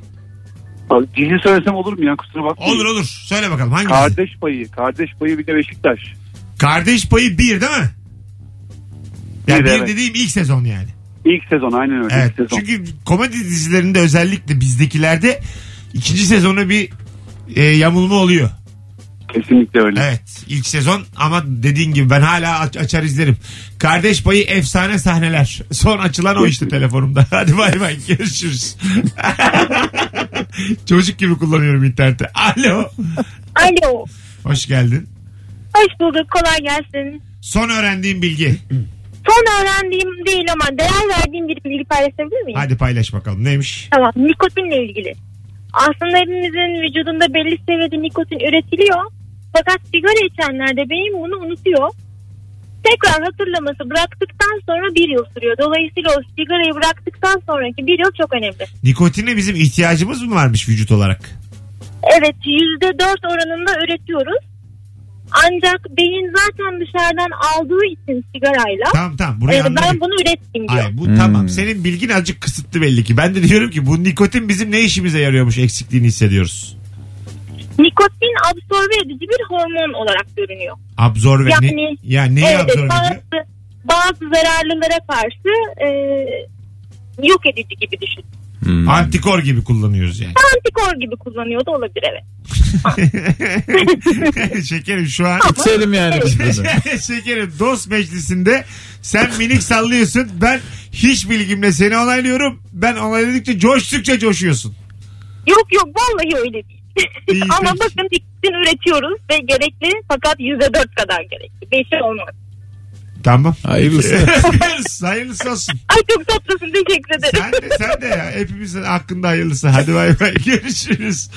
Speaker 4: Abi, Dizi söylesem olur mu ya kusura bakmayın.
Speaker 2: Olur olur. Söyle bakalım hangisi?
Speaker 4: Kardeş payı. Kardeş payı bir de Beşiktaş.
Speaker 2: Kardeş payı bir değil mi? Yani
Speaker 4: Bir,
Speaker 2: bir
Speaker 4: evet.
Speaker 2: dediğim ilk sezon yani.
Speaker 4: İlk sezon aynen öyle.
Speaker 2: Evet.
Speaker 4: ilk sezon.
Speaker 2: Çünkü komedi dizilerinde özellikle bizdekilerde ikinci sezonu bir e, yamulma oluyor.
Speaker 4: Kesinlikle öyle.
Speaker 2: Evet. ilk sezon ama dediğin gibi ben hala aç- açar izlerim. Kardeş payı efsane sahneler. Son açılan o işte telefonumda. Hadi bay bay görüşürüz. Çocuk gibi kullanıyorum interneti. Alo.
Speaker 5: Alo.
Speaker 2: Hoş geldin.
Speaker 5: Hoş bulduk kolay gelsin.
Speaker 2: Son öğrendiğim bilgi.
Speaker 5: Son öğrendiğim değil ama değer verdiğim bir bilgi paylaşabilir miyim?
Speaker 2: Hadi paylaş bakalım. Neymiş?
Speaker 5: Tamam nikotinle ilgili. Aslında hepimizin vücudunda belli seviyede nikotin üretiliyor. Fakat sigara içenlerde beyin bunu unutuyor. Tekrar hatırlaması bıraktıktan sonra bir yıl sürüyor. Dolayısıyla o sigarayı bıraktıktan sonraki bir yıl çok önemli.
Speaker 2: Nikotine bizim ihtiyacımız mı varmış vücut olarak?
Speaker 5: Evet yüzde dört oranında üretiyoruz. Ancak beyin zaten dışarıdan aldığı için sigarayla
Speaker 2: Tamam tamam. Burayı
Speaker 5: e, ben
Speaker 2: anladık.
Speaker 5: bunu ürettim diyor.
Speaker 2: Ay bu tamam. Senin bilgin azıcık kısıtlı belli ki. Ben de diyorum ki bu nikotin bizim ne işimize yarıyormuş eksikliğini hissediyoruz.
Speaker 5: Nikotin absorbe edici bir hormon olarak görünüyor.
Speaker 2: Absorbe. Yani,
Speaker 5: Yani-
Speaker 2: ya neyi
Speaker 5: evet,
Speaker 2: absorbe ediyor?
Speaker 5: bazı, bazı zararlılara karşı e, yok edici gibi düşün.
Speaker 3: Hmm.
Speaker 2: Antikor gibi kullanıyoruz yani.
Speaker 10: Antikor gibi kullanıyordu olabilir evet.
Speaker 2: Şekerim şu an
Speaker 3: İçelim yani biz bunu.
Speaker 2: Şekerim dost meclisinde sen minik sallıyorsun. Ben hiç bilgimle seni onaylıyorum. Ben onayladıkça coştukça coşuyorsun.
Speaker 10: Yok yok vallahi öyle değil.
Speaker 2: İyi,
Speaker 10: Ama
Speaker 2: peki.
Speaker 10: bakın diktin üretiyoruz ve gerekli fakat %4 kadar gerekli. 5'e olmaz.
Speaker 2: Tamam.
Speaker 3: Hayırlısı.
Speaker 2: hayırlısı, hayırlısı olsun.
Speaker 10: Ay çok tatlısın teşekkür ederim.
Speaker 2: Sen de, sen de ya. Hepimizin hakkında hayırlısı. Hadi bay bay. Görüşürüz.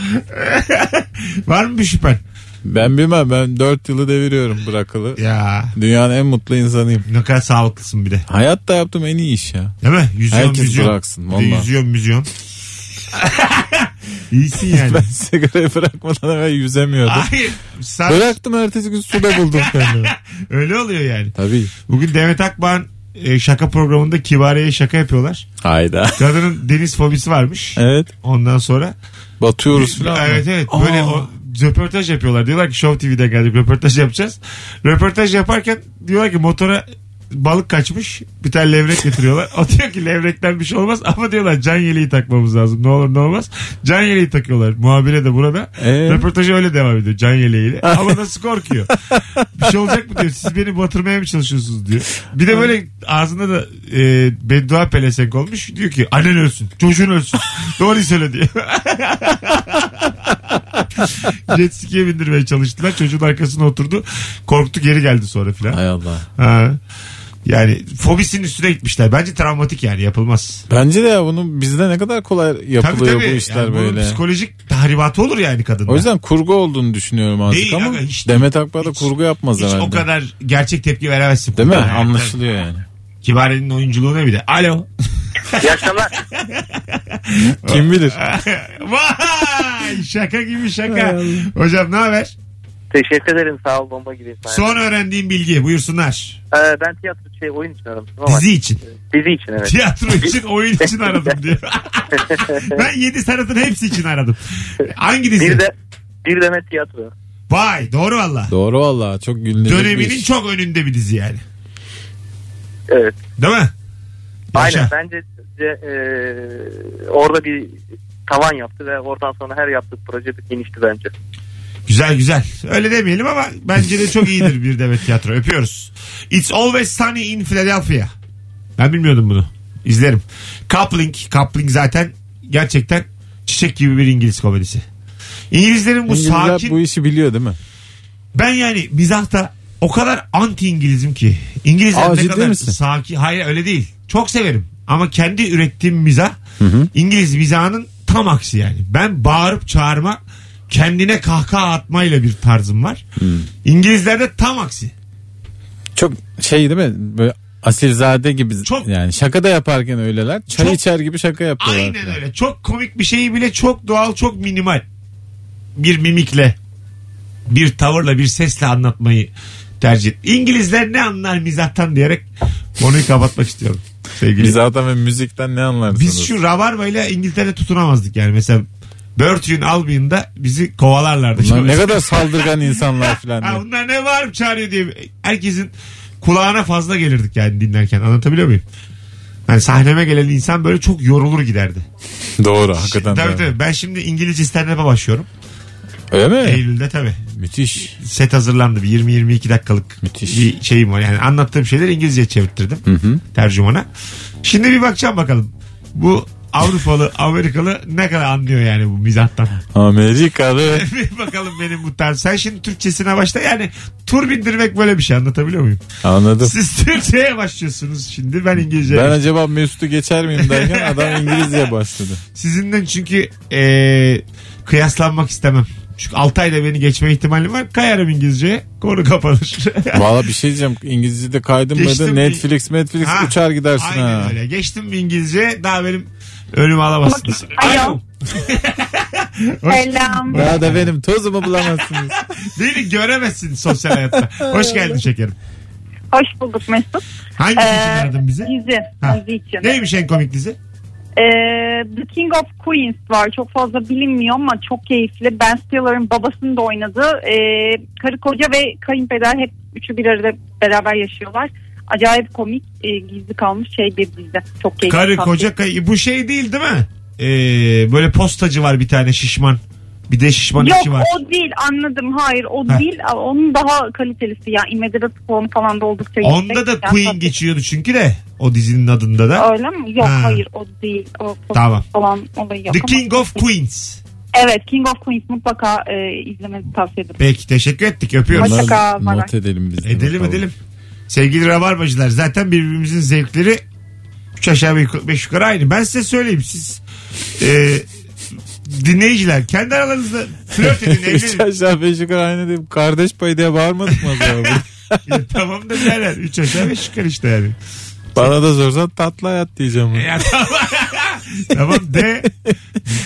Speaker 2: Var mı bir şüphen?
Speaker 3: ben bilmem ben 4 yılı deviriyorum bırakalı.
Speaker 2: Ee, Ya
Speaker 3: Dünyanın en mutlu insanıyım.
Speaker 2: ne kadar sağlıklısın bir de.
Speaker 3: Hayatta yaptığım en iyi iş ya.
Speaker 2: Değil mi? Yüzüyon,
Speaker 3: Herkes
Speaker 2: müzyon.
Speaker 3: bıraksın,
Speaker 2: Bir de
Speaker 3: vallahi.
Speaker 2: yüzüyon, müzyon. İyisin yani.
Speaker 3: Ben sigarayı bırakmadan evvel yüzemiyordum.
Speaker 2: Hayır. Sen,
Speaker 3: Bıraktım ertesi gün suda buldum kendimi.
Speaker 2: Öyle oluyor yani.
Speaker 3: Tabii.
Speaker 2: Bugün Demet Akbağ'ın e, şaka programında Kibariye'ye şaka yapıyorlar.
Speaker 3: Hayda.
Speaker 2: Kadının deniz fobisi varmış.
Speaker 3: Evet.
Speaker 2: Ondan sonra.
Speaker 3: Batıyoruz falan. mı?
Speaker 2: Evet evet. Böyle
Speaker 3: Aa.
Speaker 2: o, röportaj yapıyorlar. Diyorlar ki Show TV'de geldik röportaj yapacağız. Röportaj yaparken diyorlar ki motora balık kaçmış. Bir tane levrek getiriyorlar. O diyor ki levrekten bir şey olmaz ama diyorlar can yeleği takmamız lazım. Ne olur ne olmaz. Can yeleği takıyorlar. Muhabire de burada.
Speaker 3: Ee?
Speaker 2: Röportajı öyle devam ediyor can yeleğiyle. Ama nasıl korkuyor? bir şey olacak mı diyor. Siz beni batırmaya mı çalışıyorsunuz diyor. Bir de böyle ağzında da e, beddua pelesenk olmuş. Diyor ki annen ölsün. Çocuğun ölsün. Doğruyu söyle diyor. Jet ski'ye bindirmeye çalıştılar. Çocuğun arkasına oturdu. Korktu geri geldi sonra filan.
Speaker 3: Hay Allah.
Speaker 2: Ha. Yani fobisinin üstüne gitmişler. Bence travmatik yani yapılmaz.
Speaker 3: Bence de ya bunu bizde ne kadar kolay
Speaker 2: Tabii
Speaker 3: yapılıyor
Speaker 2: tabii.
Speaker 3: bu işler
Speaker 2: Yani bunun
Speaker 3: böyle.
Speaker 2: Psikolojik tahribatı olur yani kadında.
Speaker 3: O yüzden kurgu olduğunu düşünüyorum artık
Speaker 2: Değil
Speaker 3: ama
Speaker 2: aga, hiç-
Speaker 3: Demet Akbağ da
Speaker 2: hiç-
Speaker 3: kurgu yapmaz
Speaker 2: hiç
Speaker 3: herhalde.
Speaker 2: o kadar gerçek tepki veremezsin.
Speaker 3: Değil mi?
Speaker 2: Yani.
Speaker 3: Anlaşılıyor yani.
Speaker 2: Kibariye'nin oyunculuğuna bir de. Alo.
Speaker 9: İyi akşamlar.
Speaker 3: Kim bilir?
Speaker 2: Vay şaka gibi şaka. Hocam ne haber?
Speaker 6: Teşekkür ederim sağ ol bomba gibi.
Speaker 2: Son öğrendiğim bilgi buyursunlar.
Speaker 6: Ee, ben tiyatro şey oyun için aramıştım ama
Speaker 2: Dizi için.
Speaker 6: dizi için evet.
Speaker 2: Tiyatro için oyun için aradım diyor. ben yedi sanatın hepsi için aradım. Hangi dizi?
Speaker 6: Bir de bir deme tiyatro.
Speaker 2: Vay doğru valla.
Speaker 3: Doğru valla çok gülünecek bir
Speaker 2: Döneminin
Speaker 3: iş.
Speaker 2: çok önünde bir dizi yani.
Speaker 6: Evet.
Speaker 2: Değil mi? Yaşa.
Speaker 6: Aynen bence e, orada bir tavan yaptı ve oradan sonra her yaptığı proje bir genişti bence.
Speaker 2: Güzel güzel. Öyle demeyelim ama bence de çok iyidir bir demet tiyatro. Öpüyoruz. It's Always Sunny in Philadelphia. Ben bilmiyordum bunu. İzlerim. Coupling. Coupling zaten gerçekten çiçek gibi bir İngiliz komedisi. İngilizlerin bu
Speaker 3: İngilizler
Speaker 2: sakin...
Speaker 3: bu işi biliyor değil mi?
Speaker 2: Ben yani mizahta o kadar anti İngilizim ki. İngilizler
Speaker 3: Aa,
Speaker 2: ne
Speaker 3: ciddi
Speaker 2: kadar
Speaker 3: misin?
Speaker 2: sakin. Hayır öyle değil. Çok severim. Ama kendi ürettiğim mizah İngiliz mizahının tam aksi yani. Ben bağırıp çağırma kendine kahkaha atmayla bir tarzım var. İngilizlerde tam aksi.
Speaker 3: Çok şey değil mi? Böyle asilzade gibi
Speaker 2: Çok-
Speaker 3: yani şaka da yaparken öyleler. Çay
Speaker 2: Çok-
Speaker 3: içer gibi şaka yapıyorlar.
Speaker 2: Aynen
Speaker 3: falan.
Speaker 2: öyle. Çok komik bir şeyi bile çok doğal, çok minimal bir mimikle, bir tavırla, bir sesle anlatmayı tercih et. İngilizler ne anlar mizahtan diyerek konuyu kapatmak istiyorum. Sevgili
Speaker 3: Biz zaten ve müzikten ne anlarsınız?
Speaker 2: Biz şu rabarbayla İngiltere tutunamazdık yani. Mesela Börtü'nün Albion'da bizi kovalarlardı.
Speaker 3: Bunlar ne kadar saldırgan insanlar falan.
Speaker 2: Ha,
Speaker 3: diye.
Speaker 2: bunlar ne var çağırıyor diye herkesin kulağına fazla gelirdik yani dinlerken. Anlatabiliyor muyum? Yani sahneme gelen insan böyle çok yorulur giderdi.
Speaker 3: Doğru hakikaten.
Speaker 2: tabii
Speaker 3: doğru.
Speaker 2: tabii. Ben şimdi İngilizce stand-up'a başlıyorum.
Speaker 3: Öyle mi?
Speaker 2: Eylül'de tabii.
Speaker 3: Müthiş.
Speaker 2: Set hazırlandı. Bir 20-22 dakikalık
Speaker 3: Müthiş.
Speaker 2: bir şeyim var. Yani anlattığım şeyleri İngilizce çevirttirdim. Tercümana. Şimdi bir bakacağım bakalım. Bu Avrupalı, Amerikalı ne kadar anlıyor yani bu mizahtan.
Speaker 3: Amerikalı.
Speaker 2: Bir bakalım benim bu tarz. Sen şimdi Türkçesine başla. Yani tur bindirmek böyle bir şey anlatabiliyor muyum?
Speaker 3: Anladım.
Speaker 2: Siz Türkçe'ye başlıyorsunuz şimdi. Ben İngilizce'ye.
Speaker 3: Ben acaba Mesut'u geçer miyim derken adam İngilizce başladı.
Speaker 2: Sizinden çünkü eee, kıyaslanmak istemem. Çünkü 6 ayda beni geçme ihtimalim var. Kayarım İngilizce'ye. Konu kapanır.
Speaker 3: Valla bir şey diyeceğim. İngilizce'de kaydın
Speaker 2: Geçtim
Speaker 3: böyle
Speaker 2: bir-
Speaker 3: Netflix, Netflix
Speaker 2: Ha,
Speaker 3: uçar gidersin
Speaker 2: Aynen
Speaker 3: ha.
Speaker 2: öyle. Geçtim bir İngilizce. Daha benim önümü alamazsınız.
Speaker 10: Alo. Selam.
Speaker 3: Ya da benim tozumu bulamazsınız.
Speaker 2: Beni göremezsin sosyal hayatta. Hoş geldin şekerim.
Speaker 10: Hoş bulduk Mesut.
Speaker 2: Hangisi
Speaker 10: Ee,
Speaker 2: için aradın bizi?
Speaker 10: Dizi.
Speaker 2: Ha.
Speaker 10: Dizi için.
Speaker 2: Neymiş en komik dizi?
Speaker 10: Ee, The King of Queens var. Çok fazla bilinmiyor ama çok keyifli. Ben Stiller'ın babasını da oynadı. Ee, karı koca ve kayınpeder hep üçü bir arada beraber yaşıyorlar. Acayip komik, e, gizli kalmış şey bir dizi. Çok keyifli.
Speaker 2: Karı
Speaker 10: tatlı.
Speaker 2: koca kay- Bu şey değil değil mi? e, böyle postacı var bir tane şişman. Bir de şişman
Speaker 10: Yok
Speaker 2: işi var.
Speaker 10: o değil anladım. Hayır o
Speaker 2: Ha.
Speaker 10: değil. Aa, Onun daha kalitelisi ya. İmedira Spawn falan da oldukça
Speaker 2: Onda da
Speaker 10: Yani
Speaker 2: Queen
Speaker 10: tabii.
Speaker 2: geçiyordu çünkü de o dizinin adında da.
Speaker 10: Öyle mi? Yok
Speaker 2: Ha.
Speaker 10: hayır o değil. O post
Speaker 2: Tamam.
Speaker 10: falan olayı yok.
Speaker 2: The
Speaker 10: ama-
Speaker 2: King of Queens.
Speaker 10: Evet King of Queens mutlaka e, izlemenizi tavsiye ederim.
Speaker 2: Peki teşekkür ettik öpüyoruz.
Speaker 10: Hoşça kal.
Speaker 3: Bunları not edelim biz. de
Speaker 2: Edelim
Speaker 3: bakalım.
Speaker 2: edelim. Sevgili rabarbacılar zaten birbirimizin zevkleri 3 aşağı 5 yukarı aynı. Ben size söyleyeyim siz e, dinleyiciler kendi aralarınızda flört edin
Speaker 3: Üç
Speaker 2: evlenin.
Speaker 3: aşağı beş yukarı aynı deyip kardeş payı diye bağırmadık mı acaba?
Speaker 2: Ya tamam da birader 3 aşağı 5 yukarı işte yani.
Speaker 3: Bana da sorsan tatlı hayat diyeceğim. bunu.
Speaker 2: Ya tamam. tamam de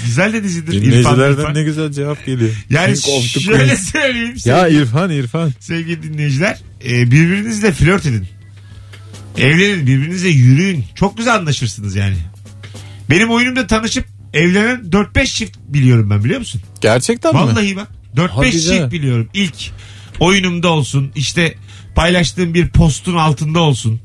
Speaker 2: güzel de dizidir. İrfan, İrfan.
Speaker 3: Dinleyicilerden ne güzel cevap geliyor.
Speaker 2: Yani
Speaker 3: King of the
Speaker 2: şöyle
Speaker 3: Queens.
Speaker 2: söyleyeyim size.
Speaker 3: Ya İrfan İrfan.
Speaker 2: sevgili dinleyiciler. E, birbirinizle flört edin. Evlenin birbirinize yürüyün. Çok güzel anlaşırsınız yani. Benim oyunumda tanışıp evlenen 4-5 çift biliyorum ben biliyor musun?
Speaker 3: Gerçekten mi?
Speaker 2: Vallahi bak 4-5
Speaker 3: Hadi
Speaker 2: çift
Speaker 3: be.
Speaker 2: biliyorum. İlk oyunumda olsun işte paylaştığım bir postun altında olsun.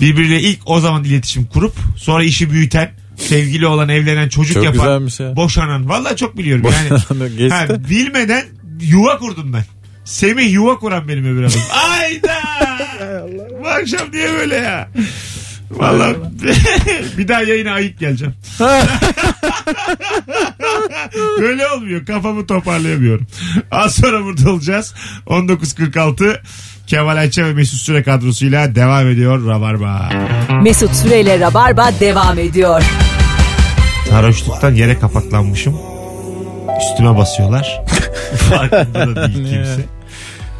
Speaker 2: Birbiriyle ilk o zaman iletişim kurup sonra işi büyüten sevgili olan evlenen çocuk
Speaker 3: Çok
Speaker 2: yapan
Speaker 3: güzelmiş ya.
Speaker 2: boşanan. Vallahi çok biliyorum yani.
Speaker 3: Yani... Geçti.
Speaker 2: Ha, bilmeden yuva kurdum ben. Semih yuva kuran benim öbür adım. Ayda! Bu akşam niye böyle ya? Vallahi bir daha yayına ayık geleceğim. Böyle olmuyor. Kafamı toparlayamıyorum. Az sonra burada olacağız. 19.46 Kemal Ayça ve Mesut Süre kadrosuyla devam ediyor Rabarba.
Speaker 1: Mesut Süreyle Rabarba devam ediyor.
Speaker 2: Sarhoşluktan yere kapaklanmışım. Üstüme basıyorlar. Farkında da değil
Speaker 3: Ne ya?
Speaker 2: kimse.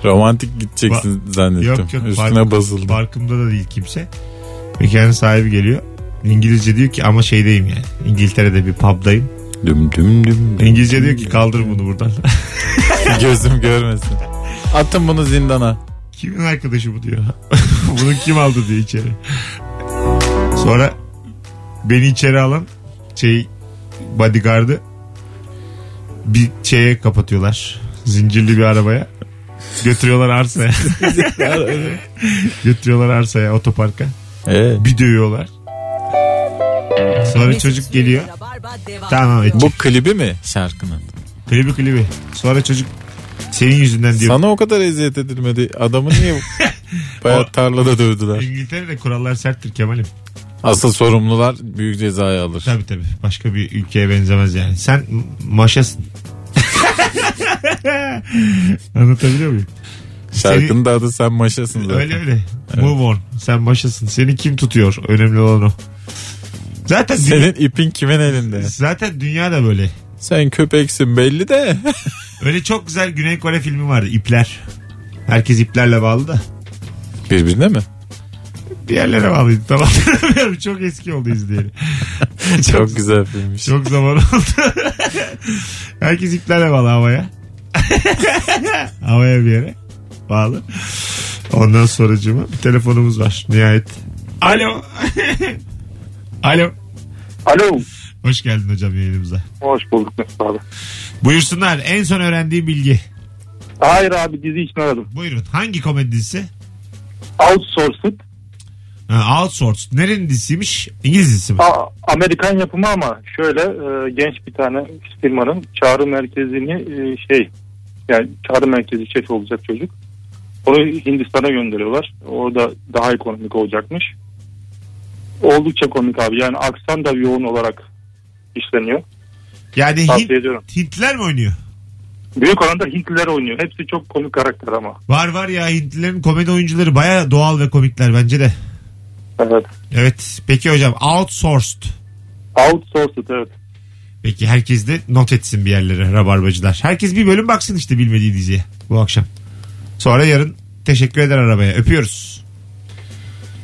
Speaker 3: Romantik gideceksin zannettim.
Speaker 2: Yok yok.
Speaker 3: Üstüne
Speaker 2: farkım-
Speaker 3: basıldı.
Speaker 2: Farkımda da değil kimse. Mekanın sahibi geliyor. İngilizce diyor ki ama şeydeyim yani. İngiltere'de bir pub'dayım.
Speaker 3: Düm düm düm. düm.
Speaker 2: İngilizce diyor ki kaldır bunu buradan.
Speaker 3: Gözüm görmesin. Atın bunu zindana.
Speaker 2: Kimin arkadaşı bu diyor. bunu kim aldı diyor içeri. Sonra beni içeri alan şey bodyguard'ı bir şeye kapatıyorlar. Zincirli bir arabaya. Götürüyorlar arsaya. Götürüyorlar arsaya otoparka.
Speaker 3: Ee,
Speaker 2: Bir dövüyorlar. Sonra çocuk geliyor.
Speaker 1: Rabarba devam
Speaker 2: Tamam evet.
Speaker 3: bu klibi mi şarkının?
Speaker 2: Klibi klibi. Sonra çocuk senin yüzünden diyor.
Speaker 3: Sana o kadar eziyet edilmedi. Adamı niye
Speaker 2: O-
Speaker 3: bayağı tarlada dövdüler?
Speaker 2: İngiltere'de kurallar serttir Kemal'im.
Speaker 3: Asıl sorumlular büyük cezayı alır.
Speaker 2: Tabii tabii. Başka bir ülkeye benzemez yani. Sen m- maşasın. Anlatabiliyor muyum?
Speaker 3: Şarkının da adı sen maşasın zaten.
Speaker 2: Öyle öyle. Move on. Sen maşasın. Seni kim tutuyor? Önemli olan o. Zaten dü-
Speaker 3: Senin ipin kimin elinde?
Speaker 2: zaten dünya da böyle.
Speaker 3: Sen köpeksin belli de.
Speaker 2: Öyle çok güzel Güney Kore filmi vardı. İpler. Herkes iplerle bağlı da.
Speaker 3: Birbirine mi?
Speaker 2: Diğerlere bağlıydı. Tamam. Hatırlamıyorum. çok eski oldu izleyeli.
Speaker 3: Çok güzel filmmiş.
Speaker 2: Çok zaman oldu. Herkes iplerle bağlı havaya. havaya bir yere bağlı. Ondan sonracığıma bir telefonumuz var nihayet. Alo. Alo.
Speaker 9: Alo.
Speaker 2: Hoş geldin hocam yayınımıza.
Speaker 9: Hoş bulduk Mesut abi.
Speaker 2: Buyursunlar en son öğrendiğim bilgi.
Speaker 9: Hayır abi dizi için aradım.
Speaker 2: Buyurun hangi komedi dizisi?
Speaker 9: Outsourced.
Speaker 2: Ha, Outsourced. Nerenin dizisiymiş? İngiliz dizisi mi?
Speaker 9: A- Amerikan yapımı ama şöyle e, genç bir tane firmanın çağrı merkezini e, şey yani çağrı merkezi şef olacak çocuk. Onu Hindistan'a gönderiyorlar. Orada daha ekonomik olacakmış. Oldukça komik abi. Yani aksan da yoğun olarak işleniyor.
Speaker 2: Yani Hint,
Speaker 9: Tavsiye ediyorum.
Speaker 2: Hintliler mi oynuyor?
Speaker 9: Büyük oranda Hintliler oynuyor. Hepsi çok komik karakter ama.
Speaker 2: Var var ya Hintlilerin komedi oyuncuları baya doğal ve komikler bence de.
Speaker 9: Evet.
Speaker 2: Evet. Peki hocam Outsourced.
Speaker 9: Outsourced evet.
Speaker 2: Peki herkes de not etsin bir yerlere rabarbacılar. Herkes bir bölüm baksın işte bilmediği diziye bu akşam. Sonra yarın teşekkür eder arabaya. Öpüyoruz.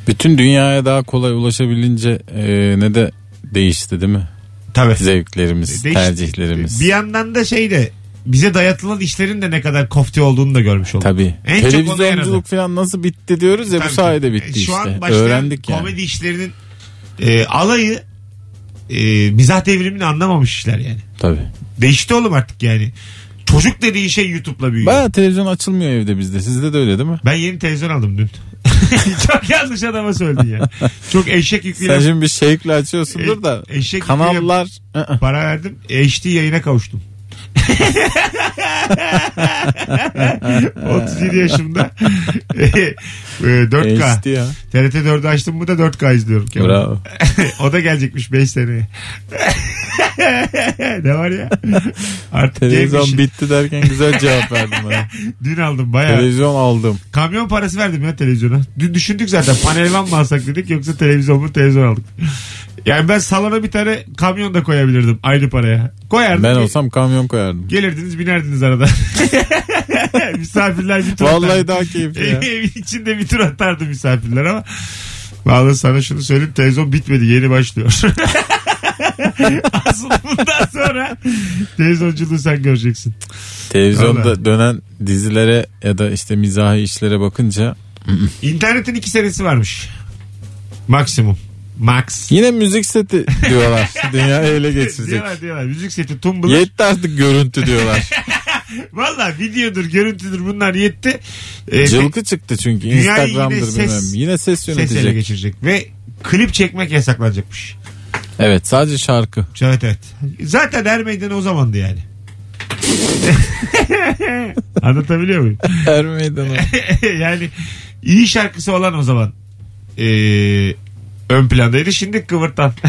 Speaker 3: Bütün dünyaya daha kolay ulaşabilince e, ne de değişti değil mi?
Speaker 2: Tabii.
Speaker 3: Zevklerimiz,
Speaker 2: Değişti.
Speaker 3: tercihlerimiz.
Speaker 2: Bir yandan da şey de bize dayatılan işlerin de ne kadar kofti olduğunu da görmüş olduk.
Speaker 3: Tabii.
Speaker 2: En çok ona yaradı.
Speaker 3: Televizyonculuk falan nasıl bitti diyoruz ya
Speaker 2: Tabii
Speaker 3: bu
Speaker 2: ki.
Speaker 3: sayede
Speaker 2: E,
Speaker 3: bitti
Speaker 2: Şu an
Speaker 3: işte.
Speaker 2: başlayan
Speaker 3: Öğrendik yani.
Speaker 2: komedi işlerinin e, alayı e, mizah devrimini anlamamış işler yani.
Speaker 3: Tabii.
Speaker 2: Değişti oğlum artık yani. Çocuk dediğin şey YouTube'la büyüyor.
Speaker 3: Baya televizyon açılmıyor evde bizde. Sizde de öyle değil mi?
Speaker 2: Ben yeni televizyon aldım dün. Çok yanlış adama söyledin ya. Çok eşek yüküyle
Speaker 3: Sen şimdi bir şevkle açıyorsundur da
Speaker 2: E- eşek
Speaker 3: kanallar Hı
Speaker 2: para verdim. HD yayına kavuştum. 37 yaşımda E,
Speaker 3: hı.
Speaker 2: 4K.
Speaker 3: HD ya.
Speaker 2: TRT 4'ü açtım bu da 4K izliyorum. Kemal.
Speaker 3: Bravo.
Speaker 2: o da gelecekmiş 5 seneye. ne var ya? Artık
Speaker 3: Televizyon
Speaker 2: gelmiş.
Speaker 3: bitti derken güzel cevap verdin bana.
Speaker 2: Dün aldım bayağı.
Speaker 3: Televizyon aldım.
Speaker 2: Kamyon parası verdim ya televizyona. Dün düşündük zaten panelvan mı alsak dedik yoksa televizyon mu televizyon aldık. Yani ben salona bir tane kamyon da koyabilirdim aynı paraya. Koyardım.
Speaker 3: Ben
Speaker 2: Ge-
Speaker 3: olsam kamyon koyardım.
Speaker 2: Gelirdiniz binerdiniz arada. misafirler bir tur
Speaker 3: Vallahi
Speaker 2: atardı.
Speaker 3: daha keyifli ya.
Speaker 2: Evin içinde bir tur atardı misafirler ama. Vallahi sana şunu söyleyeyim televizyon bitmedi yeni başlıyor. Asıl bundan sonra televizyonculuğu sen göreceksin. Vallahi.
Speaker 3: Televizyonda dönen dizilere ya da işte mizahi işlere bakınca
Speaker 2: İnternetin iki senesi varmış. Maksimum. Max.
Speaker 3: yine müzik seti diyorlar. Dünya ele geçirecek.
Speaker 2: Diyorlar diyorlar. Müzik seti tumbler.
Speaker 3: Yetti artık görüntü diyorlar.
Speaker 2: Valla videodur, görüntüdür bunlar yetti. Ee,
Speaker 3: Cılkı çıktı çünkü.
Speaker 2: Dünyayı yine
Speaker 3: Instagram'dır
Speaker 2: ses-
Speaker 3: bilmem. Yine ses
Speaker 2: ses ele
Speaker 3: yönetecek.
Speaker 2: geçirecek. Ve klip çekmek yasaklanacakmış.
Speaker 3: Evet sadece şarkı.
Speaker 2: Evet evet. Zaten her meydanı o zamandı yani. Anlatabiliyor muyum?
Speaker 3: Her meydanı.
Speaker 2: yani iyi şarkısı olan o zaman ee, ön plandaydı. Şimdi kıvırtan.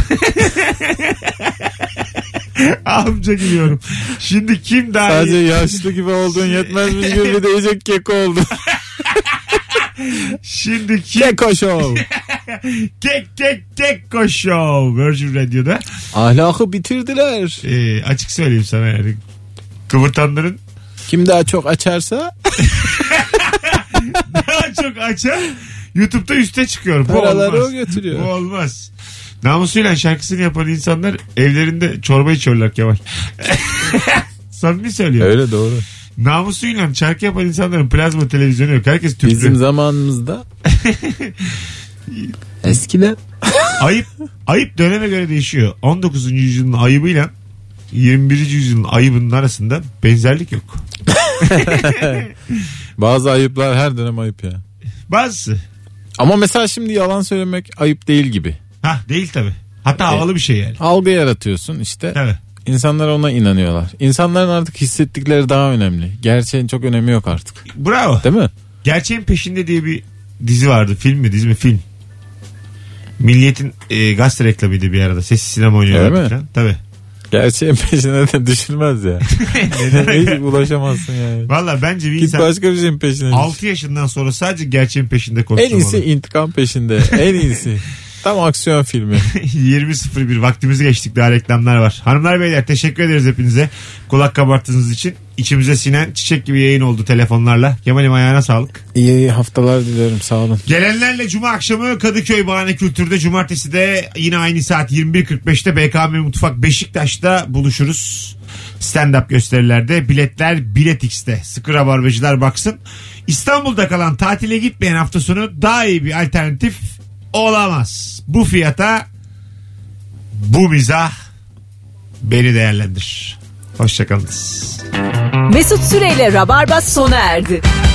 Speaker 2: Amca gülüyorum. Şimdi kim daha
Speaker 3: Sadece
Speaker 2: iyi?
Speaker 3: yaşlı gibi oldun yetmezmiş gibi bir de iyice keko oldun.
Speaker 2: Şimdi kim
Speaker 3: keko show.
Speaker 2: Kek kek kek koşu Virgin Radio'da.
Speaker 3: Ahlakı bitirdiler.
Speaker 2: Ee, açık söyleyeyim sana yani. Kıvırtanların
Speaker 3: Kim daha çok açarsa
Speaker 2: daha çok açan YouTube'da üste çıkıyor. Bu
Speaker 3: paraları o
Speaker 2: olmaz. Bu
Speaker 3: götürüyor.
Speaker 2: olmaz. Namusuyla şarkısını yapan insanlar evlerinde çorba içiyorlar Kemal. Samimi söylüyorum.
Speaker 3: Öyle doğru.
Speaker 2: Namusuyla şarkı yapan insanların plazma televizyonu yok. Herkes tüplü.
Speaker 3: Bizim zamanımızda eskiden
Speaker 2: ayıp ayıp döneme göre değişiyor. 19. yüzyılın ayıbıyla 21. yüzyılın ayıbının arasında benzerlik yok.
Speaker 3: bazı ayıplar her dönem ayıp ya.
Speaker 2: Bazısı
Speaker 3: Ama mesela şimdi yalan söylemek ayıp değil gibi.
Speaker 2: Ha değil tabi. Hatta havalı bir şey yani.
Speaker 3: Algı yaratıyorsun işte.
Speaker 2: Tabii.
Speaker 3: İnsanlar ona inanıyorlar. İnsanların artık hissettikleri daha önemli. Gerçeğin çok önemi yok artık.
Speaker 2: Bravo.
Speaker 3: Değil mi?
Speaker 2: Gerçeğin peşinde diye bir dizi vardı. Film mi dizi mi? Film. Milliyet'in e, gazete reklamıydı bir arada. Sessiz sinema
Speaker 3: Öyle mi?
Speaker 2: oynuyorlardı. Tabi.
Speaker 3: Gerçeğin peşine de düşülmez ya. Hiç ulaşamazsın yani.
Speaker 2: Valla bence bir
Speaker 3: Git
Speaker 2: insan
Speaker 3: başka bir şeyin peşine. düş.
Speaker 2: 6 yaşından sonra sadece gerçeğin peşinde
Speaker 3: En iyisi
Speaker 2: koşturmalı.
Speaker 3: intikam peşinde. En iyisi. Tam aksiyon filmi.
Speaker 2: 20.01 vaktimizi geçtik daha reklamlar var. Hanımlar beyler teşekkür ederiz hepinize. Kulak kabarttığınız için. içimize sinen çiçek gibi yayın oldu telefonlarla. Kemal'im ayağına sağlık.
Speaker 3: İyi, iyi haftalar diliyorum sağ olun.
Speaker 2: Gelenlerle Cuma akşamı Kadıköy Bahane Kültür'de Cumartesi de yine aynı saat 21.45'te BKM Mutfak Beşiktaş'ta buluşuruz. Stand-up gösterilerde biletler Bilet X'te. Sıkı rabarbacılar baksın. İstanbul'da kalan tatile gitmeyen hafta sonu daha iyi bir alternatif olamaz. Bu fiyata bu mizah beni değerlendir. Hoşçakalınız.
Speaker 1: Mesut Süreyle Rabarba sona erdi.